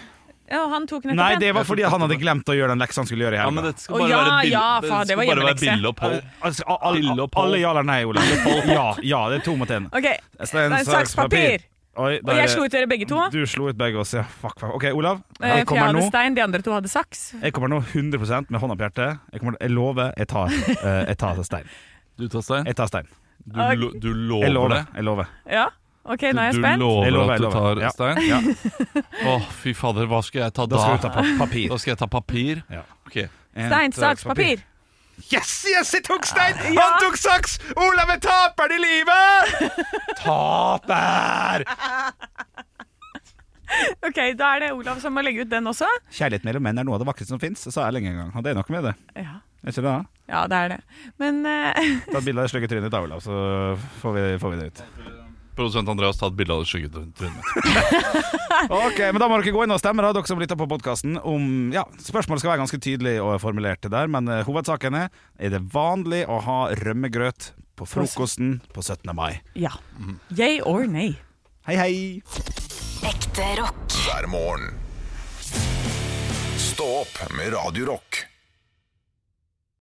[SPEAKER 4] Ja, og han tok nettopp
[SPEAKER 2] Nei,
[SPEAKER 4] den.
[SPEAKER 2] det var fordi han hadde glemt å gjøre den leksa han skulle gjøre i
[SPEAKER 3] Ja, men
[SPEAKER 2] helga.
[SPEAKER 3] dette skal
[SPEAKER 4] Å,
[SPEAKER 3] bare
[SPEAKER 4] ja,
[SPEAKER 3] være bill-
[SPEAKER 4] ja,
[SPEAKER 3] det
[SPEAKER 4] faen, det var
[SPEAKER 3] skal bare være
[SPEAKER 4] hjemmelekse.
[SPEAKER 3] billeopphold.
[SPEAKER 2] Altså, a- alle,
[SPEAKER 3] Pille og Pål.
[SPEAKER 2] alle ja eller nei, Olav. Ja, ja, det er to mot én.
[SPEAKER 4] Ok,
[SPEAKER 2] Stein,
[SPEAKER 4] stein, saks, papir.
[SPEAKER 2] Oi,
[SPEAKER 4] Og jeg slo ut dere begge to.
[SPEAKER 2] Du slo ut begge oss, ja. Fuck, fuck. OK, Olav.
[SPEAKER 4] Eh,
[SPEAKER 2] Jeg
[SPEAKER 4] For jeg
[SPEAKER 2] kommer
[SPEAKER 4] hadde
[SPEAKER 2] nå.
[SPEAKER 4] stein, de andre to hadde saks.
[SPEAKER 2] Jeg kommer nå 100 med hånda på hjertet. Jeg, kommer, jeg lover, jeg tar, eh, jeg tar stein.
[SPEAKER 3] Du tar stein.
[SPEAKER 2] Jeg tar stein.
[SPEAKER 3] Du, lo, du lover,
[SPEAKER 2] Jeg lover.
[SPEAKER 3] det?
[SPEAKER 2] Jeg lover.
[SPEAKER 4] Ja, ok,
[SPEAKER 3] Du,
[SPEAKER 4] nå er jeg
[SPEAKER 3] du
[SPEAKER 4] spent.
[SPEAKER 3] lover,
[SPEAKER 2] Jeg lover,
[SPEAKER 3] at du
[SPEAKER 2] jeg lover.
[SPEAKER 3] tar
[SPEAKER 2] Ja.
[SPEAKER 3] stein? Å,
[SPEAKER 2] Ja.
[SPEAKER 3] fy fader, hva skal jeg ta da?
[SPEAKER 2] Da skal du ta pa- papir.
[SPEAKER 3] Da skal jeg ta papir.
[SPEAKER 2] Ja.
[SPEAKER 3] Ok.
[SPEAKER 2] En,
[SPEAKER 4] Stein,
[SPEAKER 2] to,
[SPEAKER 4] saks, papir. Ah,
[SPEAKER 2] Yes, yes, jeg tok stein! Han tok saks! Olav er taperen i livet! Taper!
[SPEAKER 4] Ok, Da er det Olav som må legge ut den også.
[SPEAKER 2] Kjærlighet mellom menn er noe av det vakreste som fins, sa Erling en gang. Og det er noe med det.
[SPEAKER 4] Ja,
[SPEAKER 2] Er ikke det? da?
[SPEAKER 4] ja det er det. Men eh,
[SPEAKER 2] Ta et bilde av det stygge trynet ditt, da, Olav, så får vi, får vi det ut.
[SPEAKER 3] Produsent Andreas tar et bilde av det skyggetrynet mitt.
[SPEAKER 2] Ok, men Da må dere gå inn og stemme, da, dere som lytter på podkasten. Ja, spørsmålet skal være ganske tydelig og formulert der, men eh, hovedsaken er Er det vanlig å ha rømmegrøt på frokosten på 17. mai.
[SPEAKER 4] ja. Yay or nay?
[SPEAKER 2] Hei, hei!
[SPEAKER 5] Ekte rock.
[SPEAKER 1] hver morgen. Stå opp med Radio Rock.